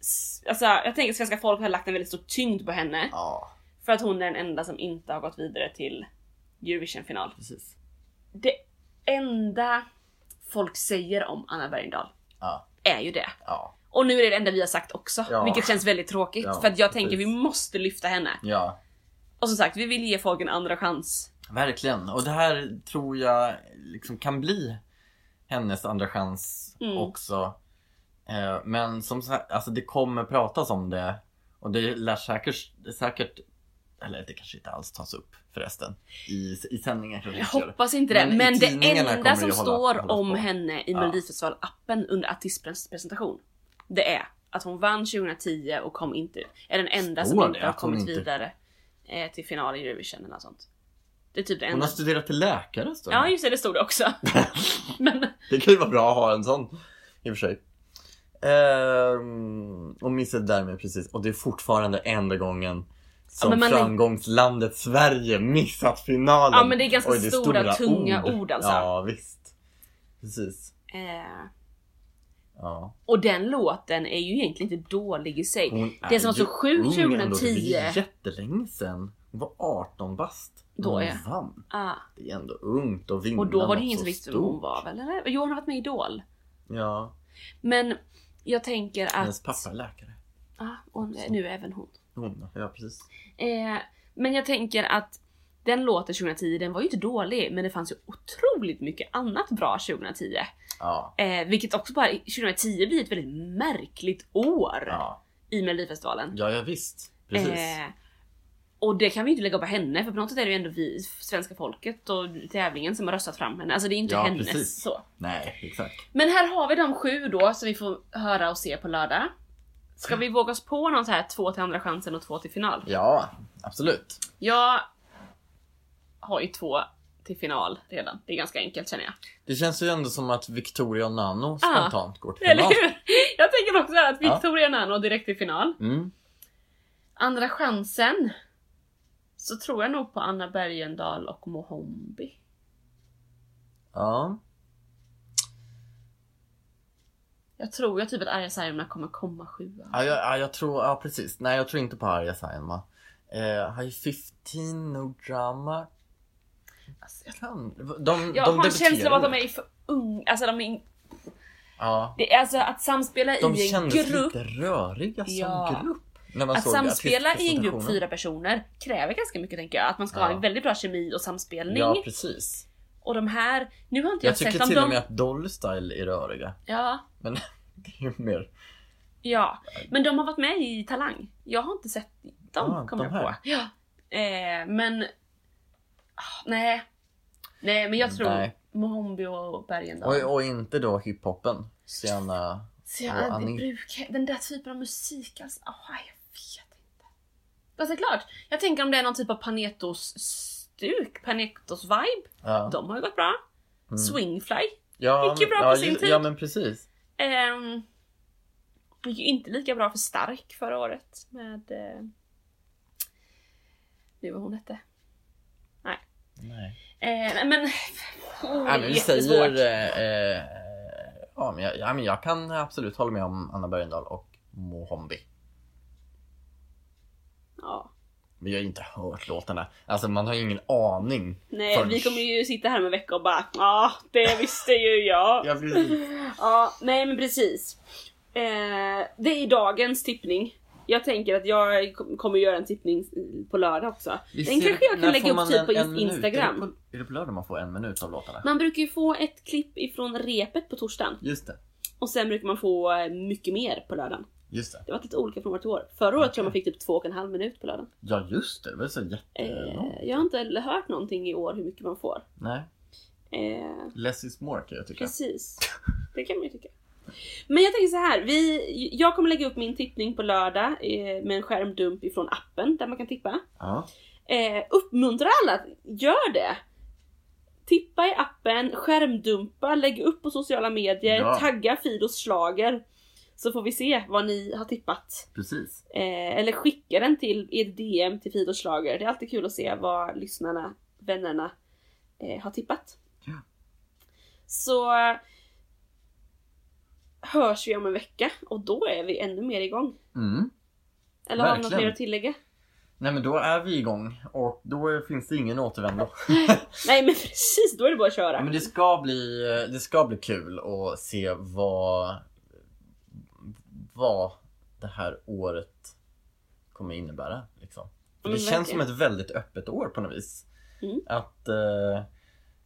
Speaker 1: s- Alltså jag tänker att svenska folk har lagt en väldigt stor tyngd på henne
Speaker 2: Ja,
Speaker 1: för att hon är den enda som inte har gått vidare till Eurovision-final.
Speaker 2: precis.
Speaker 1: Det enda folk säger om Anna Bergendahl
Speaker 2: Ja,
Speaker 1: är ju det.
Speaker 2: ja,
Speaker 1: Och nu är det det enda vi har sagt också,
Speaker 2: Ja.
Speaker 1: vilket känns väldigt tråkigt
Speaker 2: Ja,
Speaker 1: för att jag tänker vi
Speaker 2: precis.
Speaker 1: måste lyfta henne.
Speaker 2: ja.
Speaker 1: Och som sagt, vi vill ge folk en andra chans.
Speaker 2: Verkligen. Och det här tror jag liksom kan bli hennes andra chans
Speaker 1: Mm.
Speaker 2: också. Eh, Men som sagt, alltså det kommer pratas om det och det lär säkert, säkert eller det kanske inte alls tas upp förresten i, i sändningen kanske
Speaker 1: Jag
Speaker 2: inte gör det.
Speaker 1: hoppas inte det,
Speaker 2: Men i
Speaker 1: men, det
Speaker 2: tidningarna kommer
Speaker 1: enda
Speaker 2: det
Speaker 1: som
Speaker 2: ju hålla-
Speaker 1: står
Speaker 2: hållas
Speaker 1: om
Speaker 2: på.
Speaker 1: henne i
Speaker 2: Ja.
Speaker 1: Melodifestivalappen under artistpresentation, det är att hon vann 2010 och kom inte Är den enda som
Speaker 2: Står
Speaker 1: inte
Speaker 2: det
Speaker 1: har
Speaker 2: att hon
Speaker 1: kommit
Speaker 2: inte-
Speaker 1: vidare eh, till final i Eurovision eller något sånt. Det är typ det
Speaker 2: Hon
Speaker 1: enda.
Speaker 2: har studerat till läkare står det.
Speaker 1: Ja just det, det stod det också. men
Speaker 2: Det kan ju vara bra att ha en sån i och för sig. Ehm, och missade därmed precis. Och det är fortfarande enda gången som
Speaker 1: men man-
Speaker 2: framgångslandet Sverige missat finalen.
Speaker 1: Ja, men det är ganska
Speaker 2: Oj, är
Speaker 1: stora, tunga ord, alltså.
Speaker 2: Ja visst. Precis.
Speaker 1: eh,
Speaker 2: Ja.
Speaker 1: Och den låten är ju egentligen inte dålig i sig.
Speaker 2: Hon
Speaker 1: det som var
Speaker 2: är ju
Speaker 1: så sjukt
Speaker 2: ung ändå. Det
Speaker 1: 2010.
Speaker 2: är jättelänge sedan. Hon var 18 bast. när
Speaker 1: Då,
Speaker 2: hon
Speaker 1: ja.
Speaker 2: vann.
Speaker 1: Ah,
Speaker 2: Det är ändå ungt att vinna
Speaker 1: och då var det
Speaker 2: något
Speaker 1: ingen som
Speaker 2: Mm, så
Speaker 1: visste vem
Speaker 2: stort.
Speaker 1: hon var väl? Eller? Jo hon har varit med i Idol.
Speaker 2: Ja,
Speaker 1: Men jag tänker att...
Speaker 2: hennes pappa är läkare.
Speaker 1: Ah, och nu är även hon.
Speaker 2: Hon, ja precis.
Speaker 1: Eh, men jag tänker att den låten 2010, den var ju inte dålig, men det fanns ju otroligt mycket annat bra 2010.
Speaker 2: Ja.
Speaker 1: Eh, vilket också bara 2010 blir ett väldigt märkligt år
Speaker 2: Ja,
Speaker 1: i Melodifestivalen.
Speaker 2: ja, ja visst. Precis.
Speaker 1: Eh, och det kan vi ju inte lägga på henne för på något sätt är det ju ändå vi, svenska folket och tävlingen som har röstat fram henne. Alltså det är inte
Speaker 2: Ja,
Speaker 1: hennes
Speaker 2: precis.
Speaker 1: så.
Speaker 2: Nej, exakt.
Speaker 1: Men här har vi de sju då som vi får höra och se på lördag. Ska vi våga oss på någon så här två till andra chansen och två till final?
Speaker 2: Ja, absolut.
Speaker 1: Jag har ju två till final redan. Det är ganska enkelt känner jag.
Speaker 2: Det känns ju ändå som att Victoria och Nano
Speaker 1: Ja.
Speaker 2: spontant går till
Speaker 1: Ah. Eller
Speaker 2: final.
Speaker 1: hur? Jag tänker också att
Speaker 2: Ja.
Speaker 1: Victoria Nano direkt till final.
Speaker 2: Mm.
Speaker 1: Andra chansen så tror jag nog på Anna Bergendahl och Mohombi.
Speaker 2: Ja.
Speaker 1: Jag tror ju typ att Arja Saijonmaa kommer komma sjua.
Speaker 2: Ja, jag, ja, jag tror, ja precis. Nej, jag tror inte på Arja Saijonmaa. Eh, high 15, No Drama.
Speaker 1: Alltså, jag-
Speaker 2: Kan- De,
Speaker 1: Jag
Speaker 2: de
Speaker 1: har en
Speaker 2: debuterar
Speaker 1: känsla av att de
Speaker 2: ju.
Speaker 1: är för unga. Alltså, de är in...
Speaker 2: Ja.
Speaker 1: det är alltså att samspela
Speaker 2: De
Speaker 1: i en
Speaker 2: kändes
Speaker 1: grupp.
Speaker 2: lite röriga som
Speaker 1: Ja.
Speaker 2: grupp. När man
Speaker 1: Att
Speaker 2: såg
Speaker 1: samspela i en grupp
Speaker 2: artistpresentationen.
Speaker 1: fyra personer kräver ganska mycket tänker jag. Att man ska ha
Speaker 2: Ja.
Speaker 1: en väldigt bra kemi och samspelning.
Speaker 2: Ja, precis.
Speaker 1: Och de här, nu har inte jag,
Speaker 2: Jag tycker
Speaker 1: sett om
Speaker 2: till och
Speaker 1: de...
Speaker 2: med att Dolly Style är röriga.
Speaker 1: Ja,
Speaker 2: Men det är ju mer...
Speaker 1: ja. Men de har varit med i Talang. Jag har inte sett dem,
Speaker 2: Ah,
Speaker 1: kommer
Speaker 2: de
Speaker 1: jag på.
Speaker 2: här.
Speaker 1: Ja. Eh, men... Ah, Nej. Nej, men jag tror
Speaker 2: Mm, Nej.
Speaker 1: Mohombi och Bergendahl.
Speaker 2: Och, och inte då hiphopen. Så gärna...
Speaker 1: Så jag
Speaker 2: Och
Speaker 1: aldrig
Speaker 2: Annie.
Speaker 1: brukar, den där typen av musik alltså, ah, jag vet inte. Fast det är klart, jag tänker om det är någon typ av Panetos-stuk, Panetos-vibe.
Speaker 2: Ja.
Speaker 1: De har ju gått bra.
Speaker 2: Mm.
Speaker 1: Swingfly.
Speaker 2: Ja,
Speaker 1: Mycket
Speaker 2: men-
Speaker 1: bra på
Speaker 2: ja,
Speaker 1: sin
Speaker 2: ju-
Speaker 1: tid.
Speaker 2: Ja men precis.
Speaker 1: Ehm, det gick ju inte lika bra för Stark förra året med... Eh, nu vad hon hette.
Speaker 2: Nej.
Speaker 1: Eh, nej, men... Oh,
Speaker 2: Ja, men vi
Speaker 1: jättesvårt.
Speaker 2: säger... Eh, eh, ja, men jag, ja men jag kan absolut hålla med om Anna Bergendahl och Mohombi.
Speaker 1: Ja.
Speaker 2: Men jag har inte hört låtarna. Alltså man har ju ingen aning.
Speaker 1: Nej,
Speaker 2: Förrän-
Speaker 1: vi kommer ju sitta här om en vecka och bara ja, ah, det visste ju jag.
Speaker 2: Jag blir...
Speaker 1: Ja, nej men precis. Eh, det är dagens tippning. Jag tänker att jag kom- kommer göra en tippning på lördag också.
Speaker 2: Vi
Speaker 1: Den
Speaker 2: ser-
Speaker 1: kanske jag
Speaker 2: när
Speaker 1: kan lägga
Speaker 2: får
Speaker 1: upp
Speaker 2: man
Speaker 1: typ
Speaker 2: en-
Speaker 1: på
Speaker 2: en
Speaker 1: in-
Speaker 2: minut? Är
Speaker 1: Instagram.
Speaker 2: det, på, är det på lördag man får en minut av låtarna?
Speaker 1: Man brukar ju få ett klipp ifrån repet på torsdagen
Speaker 2: Just det.
Speaker 1: och sen brukar man få eh, mycket mer på lördagen.
Speaker 2: Just det.
Speaker 1: Det var lite olika från år till år. Förra året tror jag man fick typ två och en halv minut på lördagen.
Speaker 2: Ja, just det. Det var så
Speaker 1: Eh,
Speaker 2: jättelångt.
Speaker 1: jag har inte hört någonting i år hur mycket man får.
Speaker 2: Nej.
Speaker 1: Eh,
Speaker 2: Less is more kan jag tycka.
Speaker 1: Precis. Det kan man ju tycka. Men jag tänker så här. Vi, jag kommer lägga upp min tippning på lördag eh, med en skärmdump ifrån appen där man kan tippa.
Speaker 2: Ja.
Speaker 1: Eh, uppmuntra alla, att gör det! Tippa i appen, skärmdumpa, lägg upp på sociala medier,
Speaker 2: Ja.
Speaker 1: tagga Fidos slager Så får vi se vad ni har tippat.
Speaker 2: Precis.
Speaker 1: Eh, eller skicka den till i ett DM till Fidos slager Det är alltid kul att se vad lyssnarna, vännerna, eh, har tippat.
Speaker 2: Ja.
Speaker 1: Så hörs vi om en vecka och då är vi ännu mer igång.
Speaker 2: Mm.
Speaker 1: Eller har du något
Speaker 2: Verkligen.
Speaker 1: mer att tillägga?
Speaker 2: Nej men då är vi igång och då finns det ingen återvändo.
Speaker 1: Nej men precis, då är det bara att köra.
Speaker 2: Ja, men det ska bli, det ska bli kul att se vad, vad det här året kommer innebära. Liksom.
Speaker 1: Ja,
Speaker 2: För
Speaker 1: men
Speaker 2: det känns som
Speaker 1: verkligen.
Speaker 2: ett väldigt öppet år på något vis.
Speaker 1: Mm.
Speaker 2: Att eh,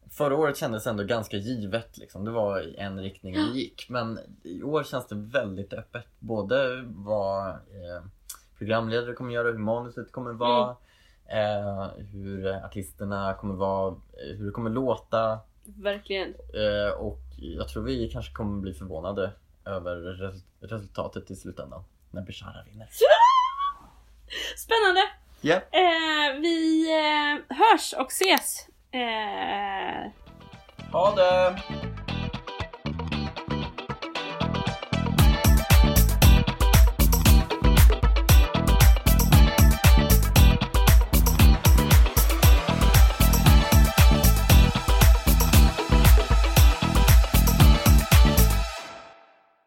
Speaker 2: Förra året kändes ändå ganska givet, liksom. det var i en riktning det gick. Men i år känns det väldigt öppet. Både vad eh, programledare kommer göra, hur manuset kommer vara,
Speaker 1: Mm.
Speaker 2: eh, hur artisterna kommer vara, eh, hur det kommer låta.
Speaker 1: Verkligen.
Speaker 2: Eh, och jag tror vi kanske kommer bli förvånade över res- resultatet i slutändan. När Bishara vinner.
Speaker 1: Spännande!
Speaker 2: Ja.
Speaker 1: Eh, vi eh, hörs och ses! Eh,
Speaker 2: Ha det!